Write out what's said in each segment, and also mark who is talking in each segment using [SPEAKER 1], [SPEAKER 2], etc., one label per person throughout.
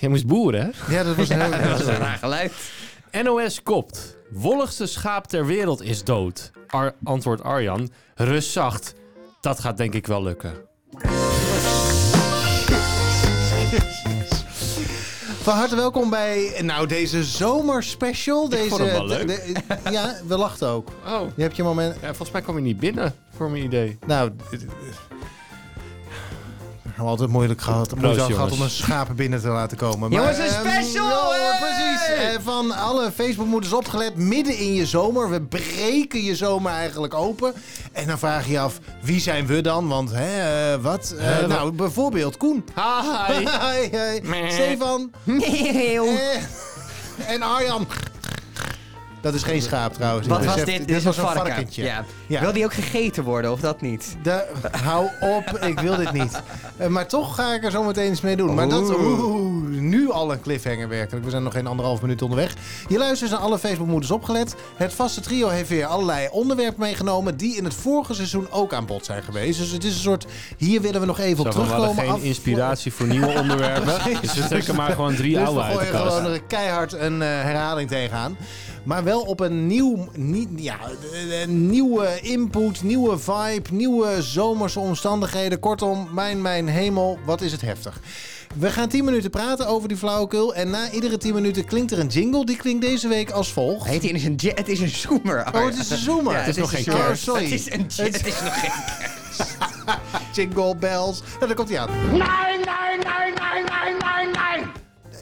[SPEAKER 1] Jij moest boeren, hè?
[SPEAKER 2] Ja, dat was een heel...
[SPEAKER 3] Dat is een raar geluid.
[SPEAKER 1] NOS kopt. Wolligste schaap ter wereld is dood. Ar- antwoordt Arjan. Rust zacht. Dat gaat denk ik wel lukken.
[SPEAKER 2] Van harte welkom bij nou, deze zomerspecial. Deze,
[SPEAKER 1] vond hem wel leuk.
[SPEAKER 2] de- de- ja, we lachten ook.
[SPEAKER 1] Oh,
[SPEAKER 2] Je hebt je moment...
[SPEAKER 1] ja, volgens mij kwam je niet binnen, voor mijn idee.
[SPEAKER 2] Nou... d- d- d- We hebben altijd moeilijk gehad, moeilijk
[SPEAKER 1] jongens.
[SPEAKER 2] gehad om een schapen binnen te laten komen.
[SPEAKER 3] Jongens, een
[SPEAKER 2] ehm,
[SPEAKER 3] special,
[SPEAKER 2] ja,
[SPEAKER 3] hey!
[SPEAKER 2] precies. Eh, van alle Facebookmoeders opgelet, midden in je zomer. We breken je zomer eigenlijk open. En dan vraag je je af, wie zijn we dan? Want, hè, eh, wat? Eh,
[SPEAKER 1] Eh,
[SPEAKER 2] nou, bijvoorbeeld Koen.
[SPEAKER 1] Hi.
[SPEAKER 2] Hoi, hoi.
[SPEAKER 1] Meh.
[SPEAKER 2] Stefan. Eh, en Arjan. Dat is geen schaap trouwens.
[SPEAKER 3] Wat
[SPEAKER 2] Ik
[SPEAKER 3] was
[SPEAKER 2] besef-
[SPEAKER 3] dit? Dit is een varkentje. Ja.
[SPEAKER 2] Ja.
[SPEAKER 3] Wil die ook gegeten worden of dat niet?
[SPEAKER 2] Da- hou op, ik wil dit niet. Eh, maar toch ga ik er zo meteen iets mee doen. Maar dat,
[SPEAKER 3] Oeh.
[SPEAKER 2] oeh, nu al een cliffhanger werkelijk. We zijn nog geen anderhalf minuut onderweg. Je luistert naar alle Facebookmoeders opgelet. Het vaste trio heeft weer allerlei onderwerpen meegenomen... die in het vorige seizoen ook aan bod zijn geweest. Dus het is een soort, hier willen we nog even op
[SPEAKER 1] Zo van, we hadden
[SPEAKER 2] terugkomen.
[SPEAKER 1] geen
[SPEAKER 2] af-
[SPEAKER 1] inspiratie voor nieuwe onderwerpen. Dus we trekken maar gewoon drie
[SPEAKER 2] Dus we
[SPEAKER 1] oude uit de
[SPEAKER 2] gooien
[SPEAKER 1] kast.
[SPEAKER 2] gewoon er keihard een eh, herhaling tegenaan. Maar wel op een nieuw, niet, ja, eh, eh, nieuwe input, nieuwe vibe, nieuwe zomerse omstandigheden. Kortom, mijn, mijn hemel, wat is het heftig. We gaan 10 minuten praten over die flauwekul. En na iedere 10 minuten klinkt er een jingle. Die klinkt deze week als volgt.
[SPEAKER 3] Heet die, het is een ja- het is een zoemer.
[SPEAKER 2] Oh, het is een zoomer.
[SPEAKER 3] Ja, het is
[SPEAKER 1] nog
[SPEAKER 3] een
[SPEAKER 1] geen
[SPEAKER 3] zoemer.
[SPEAKER 2] Oh, sorry.
[SPEAKER 3] Het is een ja- het is nog geen
[SPEAKER 2] Jingle bells. Nou, daar komt hij aan.
[SPEAKER 4] Nein, nein, nein, nein, nein, nein, nein!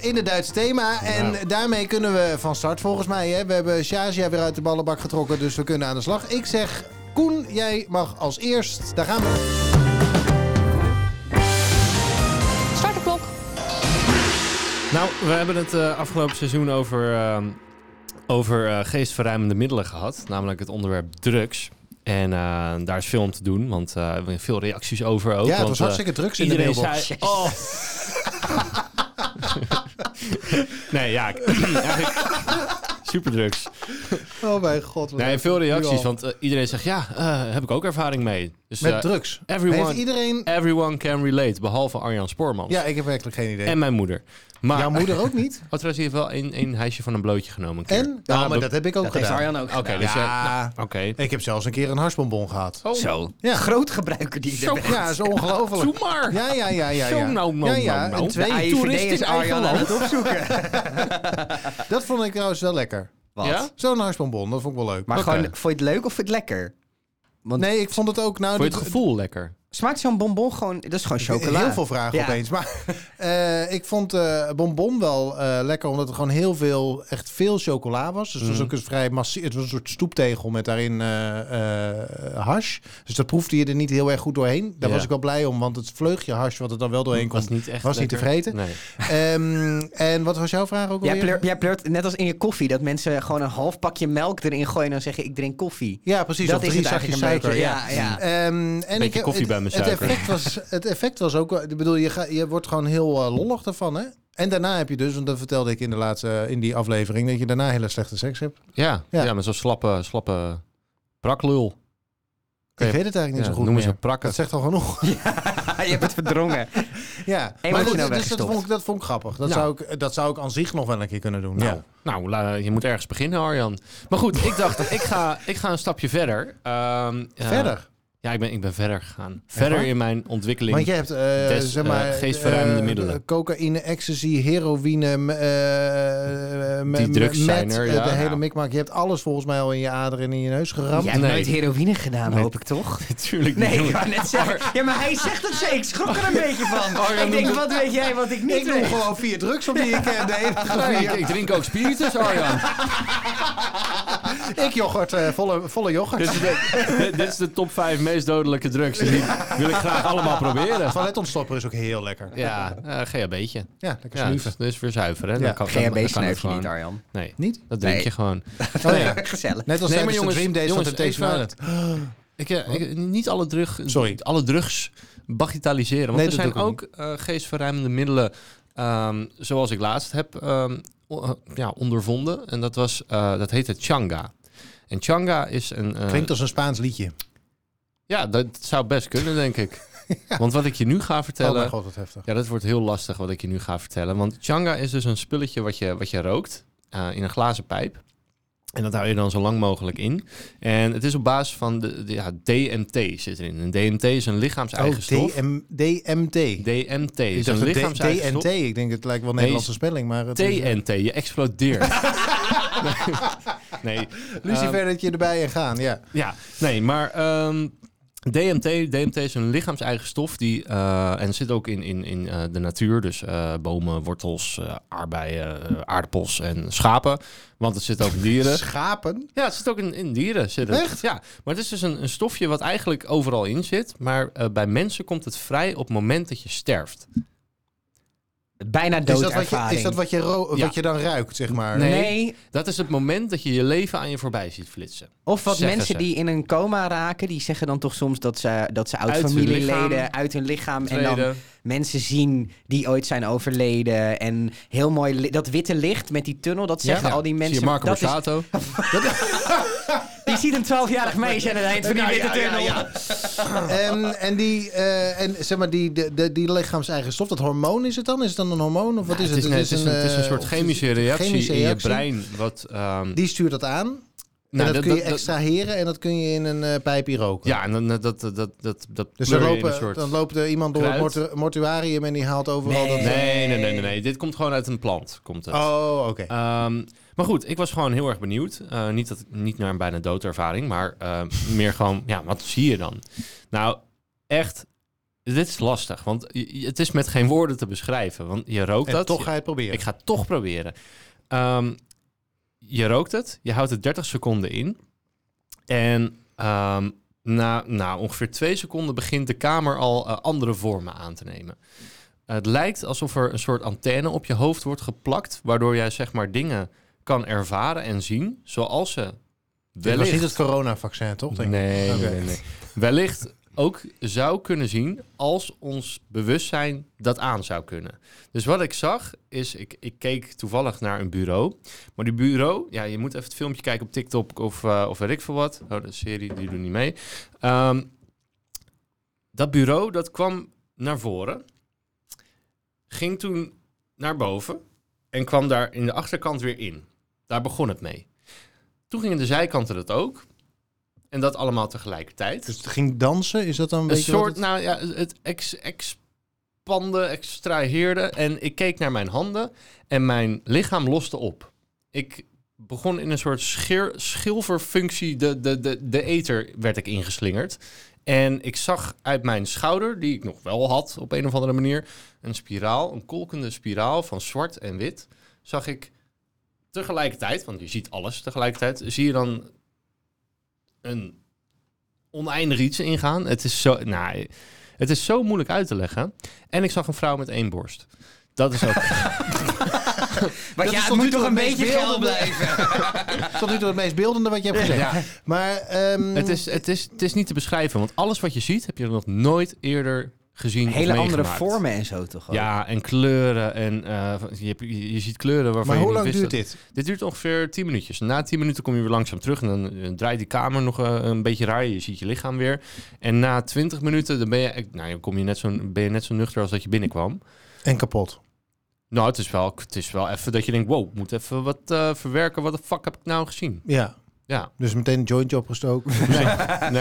[SPEAKER 2] in het Duitse thema. En
[SPEAKER 1] Nou.
[SPEAKER 2] daarmee kunnen we van start volgens mij. Hè? We hebben Shazia weer uit de ballenbak getrokken, dus we kunnen aan de slag. Ik zeg, Koen, jij mag als eerst. Daar gaan we.
[SPEAKER 5] Start de klok.
[SPEAKER 1] Nou, we hebben het eh, afgelopen seizoen over, ehm, over eh, geestverruimende middelen gehad. Namelijk het onderwerp drugs. En eh, daar is veel om te doen, want eh, we hebben veel reacties over ook.
[SPEAKER 2] ja, het
[SPEAKER 1] want,
[SPEAKER 2] was
[SPEAKER 1] eh,
[SPEAKER 2] hartstikke drugs in de
[SPEAKER 1] Iedereen
[SPEAKER 2] mailbox.
[SPEAKER 1] zei... Oh. nee, ja. ik- eigenlijk superdrugs.
[SPEAKER 2] Oh mijn god. wat-
[SPEAKER 1] Nee, veel
[SPEAKER 2] Nu
[SPEAKER 1] reacties,
[SPEAKER 2] al.
[SPEAKER 1] want eh, iedereen zegt... Ja, eh, heb ik ook ervaring mee. Dus,
[SPEAKER 2] Met
[SPEAKER 1] eh,
[SPEAKER 2] drugs. Heeft
[SPEAKER 1] Everyone,
[SPEAKER 2] iedereen...
[SPEAKER 1] everyone can relate, behalve Arjan Spoormans.
[SPEAKER 2] Ja, ik heb werkelijk geen idee.
[SPEAKER 1] En mijn moeder. Maar
[SPEAKER 2] Jouw moeder ook niet.
[SPEAKER 1] Oh, trouwens, je heeft wel één, één huisje van een blootje genomen. een keer. Ah,
[SPEAKER 2] En? Ja, maar
[SPEAKER 1] be-
[SPEAKER 2] dat heb ik ook
[SPEAKER 3] Dat heeft
[SPEAKER 2] gedaan.
[SPEAKER 3] Arjan ook
[SPEAKER 1] Oké,
[SPEAKER 3] gedaan.
[SPEAKER 1] dus
[SPEAKER 2] Ja.
[SPEAKER 1] ja, nou, Oh, oké.
[SPEAKER 2] Ik heb zelfs een keer een harsbonbon gehad.
[SPEAKER 3] Zo.
[SPEAKER 2] Ja.
[SPEAKER 3] Groot gebruiker die er bent.
[SPEAKER 2] Ja, dat is ongelooflijk.
[SPEAKER 1] Doe maar!
[SPEAKER 2] Ja, ja, ja, ja.
[SPEAKER 1] Zo
[SPEAKER 2] ja.
[SPEAKER 1] nou, nou,
[SPEAKER 2] ja, ja.
[SPEAKER 1] nou, nou.
[SPEAKER 2] En
[SPEAKER 3] De
[SPEAKER 2] twee,
[SPEAKER 3] AIVD
[SPEAKER 1] toerist in
[SPEAKER 3] is Arjan
[SPEAKER 1] eigen
[SPEAKER 3] aan het opzoeken.
[SPEAKER 2] dat vond ik trouwens wel lekker.
[SPEAKER 3] Wat?
[SPEAKER 1] Ja?
[SPEAKER 2] Zo'n harsbonbon, dat vond ik wel leuk.
[SPEAKER 3] Maar
[SPEAKER 1] Oké.
[SPEAKER 3] gewoon, vond je het leuk of vond je het lekker? Want
[SPEAKER 2] nee, ik vond het ook... Nou,
[SPEAKER 1] Vond je
[SPEAKER 2] dat-
[SPEAKER 1] het gevoel lekker?
[SPEAKER 3] smaakt zo'n bonbon gewoon... Dat is gewoon chocola.
[SPEAKER 2] Heel veel vragen
[SPEAKER 3] Ja.
[SPEAKER 2] opeens. Maar eh, ik vond eh, bonbon wel eh, lekker, omdat er gewoon heel veel, echt veel chocola was. Dus het
[SPEAKER 3] Mhm.
[SPEAKER 2] was ook een vrij massie. Het was een soort stoeptegel met daarin eh, eh, hash. Dus dat proefde je er niet heel erg goed doorheen. Daar
[SPEAKER 1] Ja.
[SPEAKER 2] was ik wel blij om, want het vleugje hash wat er dan wel doorheen komt,
[SPEAKER 1] was niet echt
[SPEAKER 2] was niet
[SPEAKER 1] lekker.
[SPEAKER 2] te vreten.
[SPEAKER 1] Nee.
[SPEAKER 2] Ehm, en wat was jouw vraag ook
[SPEAKER 3] Jij,
[SPEAKER 2] alweer?
[SPEAKER 3] pleur, jij pleurt net als in je koffie dat mensen gewoon een half pakje melk erin gooien en dan zeggen ik drink koffie.
[SPEAKER 2] Ja, precies.
[SPEAKER 3] dat
[SPEAKER 2] of
[SPEAKER 3] is
[SPEAKER 2] drie
[SPEAKER 3] het
[SPEAKER 2] zakjes
[SPEAKER 3] eigenlijk een
[SPEAKER 2] suiker.
[SPEAKER 3] beetje.
[SPEAKER 2] Ja.
[SPEAKER 3] Ja, ja.
[SPEAKER 2] Ehm, en
[SPEAKER 1] Beetje
[SPEAKER 2] ik,
[SPEAKER 1] koffie
[SPEAKER 2] het,
[SPEAKER 1] bij mijn
[SPEAKER 2] het
[SPEAKER 1] suiker.
[SPEAKER 2] effect, was, het effect was ook... wel- Ik bedoel, je, ga, je wordt gewoon heel eh, lollig ervan, hè? En daarna heb je dus, want dat vertelde ik in, de laatste, eh, in die aflevering... dat je daarna hele slechte seks hebt.
[SPEAKER 1] Ja,
[SPEAKER 2] Ja.
[SPEAKER 1] ja. maar zo'n slappe, slappe braklul.
[SPEAKER 2] Ik
[SPEAKER 1] Oké.
[SPEAKER 2] weet het eigenlijk niet
[SPEAKER 1] Ja,
[SPEAKER 2] zo goed
[SPEAKER 1] noemen ze
[SPEAKER 2] meer.
[SPEAKER 1] prakken.
[SPEAKER 2] Dat zegt al genoeg.
[SPEAKER 3] je hebt het verdrongen.
[SPEAKER 2] ja.
[SPEAKER 3] Emotioneel
[SPEAKER 2] Maar goed, dus dat
[SPEAKER 3] weggestopt.
[SPEAKER 2] vond, ik, dat vond ik grappig. Dat,
[SPEAKER 1] Nou.
[SPEAKER 2] zou ik, dat zou ik aan zich nog wel een keer kunnen doen.
[SPEAKER 1] Nou,
[SPEAKER 2] Ja.
[SPEAKER 1] nou la- je moet ergens beginnen, Arjan. Maar goed, ik dacht, ik ga, ik ga een stapje verder. Ehm, ja.
[SPEAKER 2] Verder.
[SPEAKER 1] Ja, ik ben, ik ben verder gegaan. Verder
[SPEAKER 2] waar?
[SPEAKER 1] in mijn ontwikkeling.
[SPEAKER 2] Want je hebt, eh,
[SPEAKER 1] Des,
[SPEAKER 2] zeg maar...
[SPEAKER 1] eh, geestverruimende
[SPEAKER 2] eh,
[SPEAKER 1] middelen.
[SPEAKER 2] Cocaïne, ecstasy, heroïne... m- eh, m-
[SPEAKER 1] Die
[SPEAKER 2] m-
[SPEAKER 1] drugs zijn
[SPEAKER 2] met,
[SPEAKER 1] er,
[SPEAKER 2] eh,
[SPEAKER 1] ja.
[SPEAKER 2] De hele
[SPEAKER 1] Ja.
[SPEAKER 2] mikmak. Je hebt alles volgens mij al in je aderen en in je neus geramd.
[SPEAKER 3] Jij hebt
[SPEAKER 1] Nee.
[SPEAKER 3] nooit heroïne gedaan, hoop ik toch?
[SPEAKER 1] Natuurlijk
[SPEAKER 3] Nee,
[SPEAKER 1] niet.
[SPEAKER 3] ik wou net zeggen. Ja, maar hij zegt het ze. Ik schrok er een
[SPEAKER 1] Oh,
[SPEAKER 3] beetje van. ik denk, wat weet jij wat ik niet
[SPEAKER 2] Ik doe
[SPEAKER 3] weet?
[SPEAKER 2] gewoon vier drugs op die ik ken. De enige
[SPEAKER 1] Nee,
[SPEAKER 2] vier.
[SPEAKER 1] ik, ik drink ook spiritus, Arjan.
[SPEAKER 2] Ik yoghurt, eh, volle, volle yoghurt.
[SPEAKER 1] dit, is de, dit is de top 5 meest dodelijke drugs. En die wil ik graag allemaal proberen.
[SPEAKER 2] Toiletontstopper is ook heel lekker.
[SPEAKER 1] Ja, eh GHB'tje.
[SPEAKER 2] Ja, lekker
[SPEAKER 1] Ja,
[SPEAKER 2] snuiven.
[SPEAKER 1] dus, dus weer zuiveren. hè.
[SPEAKER 2] Ja.
[SPEAKER 1] Dan kan, dan- dan
[SPEAKER 3] GHB
[SPEAKER 1] kan
[SPEAKER 3] snuif
[SPEAKER 1] het
[SPEAKER 3] je
[SPEAKER 1] gewoon.
[SPEAKER 3] niet, Arjan.
[SPEAKER 1] Nee,
[SPEAKER 2] Niet?
[SPEAKER 1] dat drink
[SPEAKER 3] Nee.
[SPEAKER 1] je gewoon.
[SPEAKER 2] Oh, ja.
[SPEAKER 3] Gezellig.
[SPEAKER 2] Net als
[SPEAKER 1] Nee,
[SPEAKER 2] tijdens
[SPEAKER 1] maar jongens,
[SPEAKER 2] de Dream Days van
[SPEAKER 1] jongens,
[SPEAKER 2] de Temptation
[SPEAKER 1] even-
[SPEAKER 2] Island.
[SPEAKER 1] Ik, eh, ik- niet alle, drug,
[SPEAKER 2] Sorry.
[SPEAKER 1] alle drugs bagatelliseren. Want
[SPEAKER 2] Nee,
[SPEAKER 1] er
[SPEAKER 2] dat
[SPEAKER 1] zijn
[SPEAKER 2] doe ik ook
[SPEAKER 1] ook eh, geestverruimende middelen, ehm, zoals ik laatst heb ehm, o- eh, ja, ondervonden. En dat, was, eh, dat heette Changa. En Changa is een... eh,
[SPEAKER 2] Oh, Klinkt als een Spaans liedje.
[SPEAKER 1] Ja, dat zou best kunnen, denk ik. Want wat ik je nu ga
[SPEAKER 2] Oh
[SPEAKER 1] vertellen...
[SPEAKER 2] mijn god, wat heftig.
[SPEAKER 1] Ja, dat wordt heel lastig wat ik je nu ga vertellen. Want changa is dus een spulletje wat je, wat je rookt eh, in een glazen pijp. En dat hou je dan zo lang mogelijk in. En het is op basis van de, de- ja, DMT zit erin. En DMT is een lichaams-eigen stof.
[SPEAKER 2] DM, DMT.
[SPEAKER 1] DMT
[SPEAKER 2] Oh, Ik
[SPEAKER 1] is
[SPEAKER 2] dacht
[SPEAKER 1] een
[SPEAKER 2] dat D-
[SPEAKER 1] lichaams-eigen
[SPEAKER 2] DNT.
[SPEAKER 1] stof.
[SPEAKER 2] Ik denk het lijkt wel een
[SPEAKER 1] Nee, Eh,
[SPEAKER 2] Nederlandse spelling, maar het is-
[SPEAKER 1] TNT, je explodeert. nee. nee.
[SPEAKER 2] Lucifer dat je erbij en gaan, ja.
[SPEAKER 1] Ja, nee, maar ehm, DMT, DMT is een lichaams-eigen stof die, eh, en zit ook in, in, in eh, de natuur, dus eh, bomen, wortels, eh, aardbeien, eh, aardappels en schapen, want het zit ook in dieren.
[SPEAKER 2] Schapen?
[SPEAKER 1] Ja, het zit ook in, in dieren. Zit het.
[SPEAKER 2] Echt?
[SPEAKER 1] Ja, maar het is dus een, een stofje wat eigenlijk overal in zit, maar eh, bij mensen komt het vrij op het moment dat je sterft.
[SPEAKER 3] Bijna
[SPEAKER 2] Is dat, wat je,
[SPEAKER 3] doodervaring.
[SPEAKER 2] is dat wat je, ro-
[SPEAKER 1] Ja.
[SPEAKER 2] wat je dan ruikt, zeg maar?
[SPEAKER 1] Nee.
[SPEAKER 3] nee.
[SPEAKER 1] Dat is het moment dat je je leven aan je voorbij ziet flitsen.
[SPEAKER 3] Of wat
[SPEAKER 1] Zeggen
[SPEAKER 3] mensen
[SPEAKER 1] ze.
[SPEAKER 3] die in een coma raken, die zeggen dan toch soms dat ze, dat ze
[SPEAKER 1] Uit hun lichaam
[SPEAKER 3] oud-familieleden uit hun lichaam en dan
[SPEAKER 1] Tweede.
[SPEAKER 3] mensen zien die ooit zijn overleden. En heel mooi, li- dat witte licht met die tunnel, dat zeggen
[SPEAKER 1] Ja.
[SPEAKER 3] al die mensen.
[SPEAKER 1] Zie je Marco
[SPEAKER 3] dat is-
[SPEAKER 1] Borsato?
[SPEAKER 3] die ziet een 12-jarig meisje aan het eind van die witte tunnel.
[SPEAKER 2] En, Ehm, en die, eh, en zeg maar, die, de, de, die lichaams-eigen stof, dat hormoon is het dan? Is het dan een hormoon of wat is
[SPEAKER 1] Nou, Het is, net-
[SPEAKER 2] het?
[SPEAKER 1] het is een, het is een
[SPEAKER 2] eh,
[SPEAKER 1] soort
[SPEAKER 2] of-
[SPEAKER 1] chemische reactie,
[SPEAKER 2] chemische
[SPEAKER 1] in je
[SPEAKER 2] reactie.
[SPEAKER 1] brein. Wat, ehm,
[SPEAKER 2] Die stuurt dat aan. En
[SPEAKER 1] nou,
[SPEAKER 2] dat, kun je extraheren en dat kun je in een eh, pijpje roken.
[SPEAKER 1] Ja, en dan, eh, dat, dat, dat, dat, dat
[SPEAKER 2] Dus dan,
[SPEAKER 1] pleur je in
[SPEAKER 2] lopen,
[SPEAKER 1] een soort...
[SPEAKER 2] dan loopt er iemand door het
[SPEAKER 1] kruid.
[SPEAKER 2] mortu- mortuarium en die haalt overal
[SPEAKER 3] Nee.
[SPEAKER 2] dat...
[SPEAKER 1] nee, nee, nee, nee, nee. Dit komt gewoon uit een plant. Komt het.
[SPEAKER 2] Oh, oké.
[SPEAKER 1] Ehm, maar goed, ik was gewoon heel erg benieuwd. Eh, niet, dat, niet naar een bijna doodervaring, maar eh, meer gewoon, ja, wat zie je dan? Nou, echt, dit is lastig, want je- je- het is met geen woorden te beschrijven. Want je rookt
[SPEAKER 2] En
[SPEAKER 1] dat.
[SPEAKER 2] toch
[SPEAKER 1] je-
[SPEAKER 2] ga je het proberen.
[SPEAKER 1] Ik ga het toch proberen. Ehm, je rookt het, je houdt het 30 seconden in. En ehm, na, na ongeveer twee seconden begint de kamer al eh, andere vormen aan te nemen. Het lijkt alsof er een soort antenne op je hoofd wordt geplakt, waardoor jij zeg maar dingen kan ervaren en zien zoals ze
[SPEAKER 2] Dit was niet
[SPEAKER 1] wellicht.
[SPEAKER 2] het coronavaccin, toch?
[SPEAKER 1] Nee,
[SPEAKER 2] Denk ik?
[SPEAKER 1] nee,
[SPEAKER 2] Oké.
[SPEAKER 1] nee, nee. Wellicht ook zou kunnen zien als ons bewustzijn dat aan zou kunnen. Dus wat ik zag is, ik, ik keek toevallig naar een bureau. Maar die bureau, ja, je moet even het filmpje kijken op TikTok of, eh of weet ik veel wat. Oh, de serie, die doen niet mee. Ehm, dat bureau, dat kwam naar voren. Ging toen naar boven en kwam daar in de achterkant weer in. Daar begon het mee. Toen gingen de zijkanten dat ook. En dat allemaal tegelijkertijd.
[SPEAKER 2] Dus het ging dansen, is dat dan een,
[SPEAKER 1] Een
[SPEAKER 2] beetje
[SPEAKER 1] soort,
[SPEAKER 2] wat het-
[SPEAKER 1] nou ja, het ex, expande, extraheerde. En ik keek naar mijn handen en mijn lichaam loste op. Ik begon in een soort scheer, schilverfunctie, de, de, de, de ether werd ik ingeslingerd. En ik zag uit mijn schouder, die ik nog wel had op een of andere manier, een spiraal, een kolkende spiraal van zwart en wit. Zag ik tegelijkertijd, want je ziet alles tegelijkertijd, zie je dan een oneindig iets ingaan. Het is zo, nou, het is zo moeilijk uit te leggen. En ik zag een vrouw met één borst. Dat is ook.
[SPEAKER 3] Want
[SPEAKER 2] Dat
[SPEAKER 3] ja,
[SPEAKER 2] is
[SPEAKER 3] het
[SPEAKER 2] tot nu
[SPEAKER 3] moet
[SPEAKER 2] toe
[SPEAKER 3] toch een
[SPEAKER 2] het meest
[SPEAKER 3] beetje geil
[SPEAKER 2] beeldende-
[SPEAKER 3] blijven.
[SPEAKER 2] Tot nu toe het meest beeldende wat je hebt gezegd.
[SPEAKER 1] ja,
[SPEAKER 2] Maar ehm,
[SPEAKER 1] het, is, het, is, het is niet te beschrijven, want alles wat je ziet heb je nog nooit eerder gezien. of
[SPEAKER 3] Hele andere
[SPEAKER 1] meegemaakt.
[SPEAKER 3] vormen en zo toch ook.
[SPEAKER 1] Ja, en kleuren. En, eh, je, hebt- je, je ziet kleuren waarvan
[SPEAKER 2] maar
[SPEAKER 1] je
[SPEAKER 2] hoe
[SPEAKER 1] niet
[SPEAKER 2] lang
[SPEAKER 1] wist
[SPEAKER 2] duurt
[SPEAKER 1] dat-
[SPEAKER 2] dit?
[SPEAKER 1] Dit duurt ongeveer 10 minuutjes. Na 10 minuten kom je weer langzaam terug en dan eh, draait die kamer nog eh, een beetje raar. Je ziet je lichaam weer. En na 20 minuten dan ben je, echt- nou, dan kom je net zo, ben je net zo nuchter als dat je binnenkwam.
[SPEAKER 2] En kapot.
[SPEAKER 1] Nou, het is wel, het is wel even dat je denkt, wow, ik moet even wat eh, verwerken. Wat de fuck heb ik nou gezien?
[SPEAKER 2] Ja.
[SPEAKER 1] Ja.
[SPEAKER 2] Dus meteen een jointje opgestoken.
[SPEAKER 1] Nee,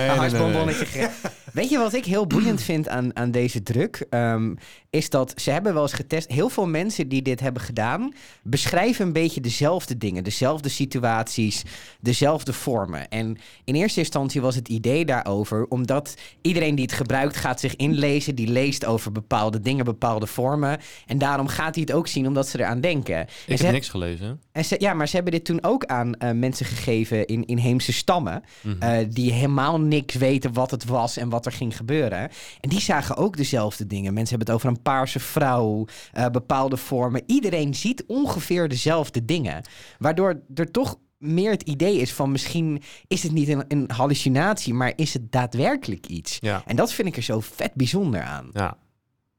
[SPEAKER 3] Een harsbonbonnetje gegeven. Weet je wat ik heel boeiend vind aan, aan deze druk? Ehm, is dat ze hebben wel eens getest. Heel veel mensen die dit hebben gedaan, beschrijven een beetje dezelfde dingen, dezelfde situaties, dezelfde vormen. En in eerste instantie was het idee daarover, omdat iedereen die het gebruikt gaat zich inlezen, die leest over bepaalde dingen, bepaalde vormen. En daarom gaat hij het ook zien, omdat ze eraan denken. En
[SPEAKER 1] Ik
[SPEAKER 3] ze-
[SPEAKER 1] heb niks gelezen.
[SPEAKER 3] en ze, ja, maar ze hebben dit toen ook aan eh, mensen gegeven in inheemse stammen.
[SPEAKER 2] Mhm.
[SPEAKER 3] eh, die helemaal niks weten wat het was en wat er ging gebeuren. En die zagen ook dezelfde dingen. Mensen hebben het over een paarse vrouw, eh, bepaalde vormen. Iedereen ziet ongeveer dezelfde dingen. Waardoor er toch meer het idee is van misschien is het niet een, een hallucinatie, maar is het daadwerkelijk iets.
[SPEAKER 1] Ja.
[SPEAKER 3] En dat vind ik er zo vet bijzonder aan.
[SPEAKER 1] Ja.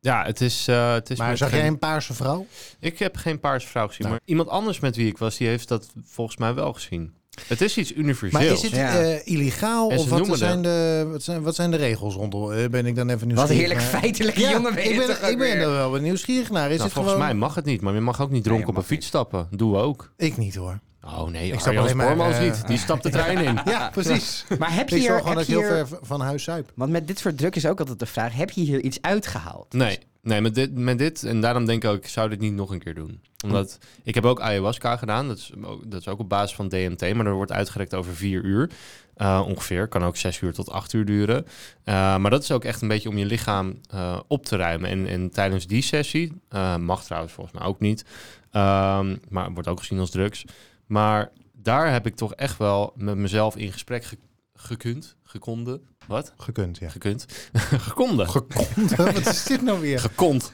[SPEAKER 1] Ja, het is... eh, het is
[SPEAKER 2] Maar
[SPEAKER 1] met
[SPEAKER 2] zag
[SPEAKER 1] geen-
[SPEAKER 2] jij een paarse vrouw?
[SPEAKER 1] Ik heb geen paarse vrouw gezien,
[SPEAKER 2] Nou.
[SPEAKER 1] maar iemand anders met wie ik was, die heeft dat volgens mij wel gezien. Het is iets universeels.
[SPEAKER 2] Maar is het
[SPEAKER 3] Ja.
[SPEAKER 2] eh, illegaal
[SPEAKER 1] En ze
[SPEAKER 2] of wat
[SPEAKER 1] noemen
[SPEAKER 2] zijn,
[SPEAKER 1] dat-
[SPEAKER 2] de, wat, zijn, wat zijn de regels rondom? Eh, ben ik dan even nieuwsgierig
[SPEAKER 3] Wat heerlijk
[SPEAKER 2] naar.
[SPEAKER 3] feitelijke
[SPEAKER 2] Ja,
[SPEAKER 3] jongen ben je
[SPEAKER 2] ik ben,
[SPEAKER 3] toch ook
[SPEAKER 2] ik ben
[SPEAKER 3] weer.
[SPEAKER 2] er wel weer nieuwsgierig naar. Is
[SPEAKER 1] Nou,
[SPEAKER 2] het
[SPEAKER 1] volgens
[SPEAKER 2] gewoon...
[SPEAKER 1] mij mag het niet, maar je mag ook niet dronken
[SPEAKER 3] Nee,
[SPEAKER 1] op een
[SPEAKER 3] mag
[SPEAKER 1] fiets stappen. Doe ook.
[SPEAKER 2] Ik niet hoor.
[SPEAKER 1] Oh nee,
[SPEAKER 2] Ik
[SPEAKER 1] ik
[SPEAKER 2] stap
[SPEAKER 1] stap
[SPEAKER 2] alleen maar, eh,
[SPEAKER 1] niet. Die stapt de trein in.
[SPEAKER 2] Ja, precies.
[SPEAKER 3] Maar Ah, heb je
[SPEAKER 2] Ik
[SPEAKER 3] hier...
[SPEAKER 2] zorg gewoon
[SPEAKER 3] heb
[SPEAKER 2] dat ik
[SPEAKER 3] je
[SPEAKER 2] heel
[SPEAKER 3] hier-
[SPEAKER 2] ver v- van huis zuip.
[SPEAKER 3] Want met dit soort druk is ook altijd de vraag... heb je hier iets uitgehaald?
[SPEAKER 1] Nee, nee met, dit, met dit. En daarom denk ik ook, ik zou dit niet nog een keer doen. Omdat ik heb ook ayahuasca gedaan. Dat is, ook- dat is ook op basis van DMT. Maar dat wordt uitgerekt over vier uur. eh, ongeveer. Kan ook zes uur tot acht uur duren. Eh, maar dat is ook echt een beetje om je lichaam eh, op te ruimen. En, en tijdens die sessie, eh, mag trouwens volgens mij ook niet. ehm, maar wordt ook gezien als drugs. Maar daar heb ik toch echt wel met mezelf in gesprek ge- gekund. Gekonden. Wat?
[SPEAKER 2] Gekund, ja.
[SPEAKER 1] Gekund. Gekonden.
[SPEAKER 2] Gekond? Wat is dit nou weer?
[SPEAKER 1] Gekond.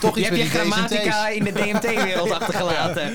[SPEAKER 2] Toch
[SPEAKER 3] Je
[SPEAKER 2] iets
[SPEAKER 3] hebt
[SPEAKER 2] met
[SPEAKER 3] je
[SPEAKER 2] die D's en
[SPEAKER 3] grammatica
[SPEAKER 2] T's.
[SPEAKER 3] in de DMT-wereld achtergelaten.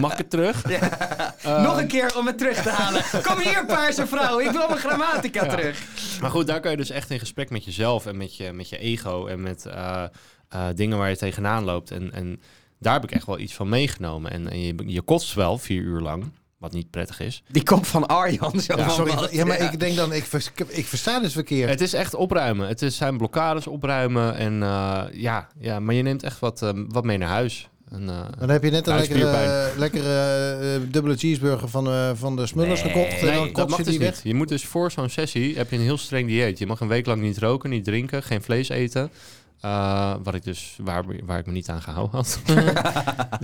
[SPEAKER 1] Mag ik het terug?
[SPEAKER 2] Ehm.
[SPEAKER 3] Nog een keer om het terug te halen. Kom hier, paarse vrouw. Ik wil mijn grammatica terug.
[SPEAKER 1] Maar goed, daar kan je dus echt in gesprek met jezelf en met je, met je ego en met eh, eh, dingen waar je tegenaan loopt. En, en daar heb ik echt wel iets van meegenomen. En, en je, je kotst wel vier uur lang, wat niet prettig is.
[SPEAKER 3] Die kop van Arjan. Zo
[SPEAKER 2] Ja,
[SPEAKER 3] van
[SPEAKER 2] sorry.
[SPEAKER 3] wat.
[SPEAKER 2] Ja, maar ik denk dan, ik, vers- ik versta dus verkeerd.
[SPEAKER 1] Het is echt opruimen. Het is, zijn blokkades opruimen. En eh, ja, ja, maar je neemt echt wat, eh, wat mee naar huis. En, eh,
[SPEAKER 2] Dan heb je net een lekkere,
[SPEAKER 1] Buikspierpijn.
[SPEAKER 2] lekkere eh, dubbele cheeseburger van, eh, van de Smullers
[SPEAKER 3] Nee.
[SPEAKER 2] gekocht. En
[SPEAKER 1] nee,
[SPEAKER 2] dan
[SPEAKER 1] dat
[SPEAKER 2] kots
[SPEAKER 1] mag
[SPEAKER 2] je
[SPEAKER 1] dus
[SPEAKER 2] die
[SPEAKER 1] niet.
[SPEAKER 2] weg.
[SPEAKER 1] Je moet dus voor zo'n sessie heb je een heel streng dieet. Je mag een week lang niet roken, niet drinken, geen vlees eten. Eh, wat ik dus waar, waar ik me niet aan gehouden had. dus
[SPEAKER 2] Maar Oh,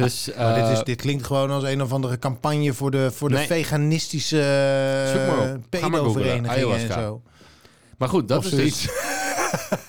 [SPEAKER 2] dit, is,
[SPEAKER 1] eh,
[SPEAKER 2] dit klinkt gewoon als een of andere campagne voor de, voor de
[SPEAKER 1] Nee.
[SPEAKER 2] veganistische
[SPEAKER 1] Zoek maar op. Ga
[SPEAKER 2] eh,
[SPEAKER 1] maar
[SPEAKER 2] pedoverenigingen
[SPEAKER 1] googlen.
[SPEAKER 2] en
[SPEAKER 1] Ayahuasca.
[SPEAKER 2] zo.
[SPEAKER 1] Maar goed, dat
[SPEAKER 2] Of
[SPEAKER 1] is
[SPEAKER 2] zoiets.
[SPEAKER 1] dus.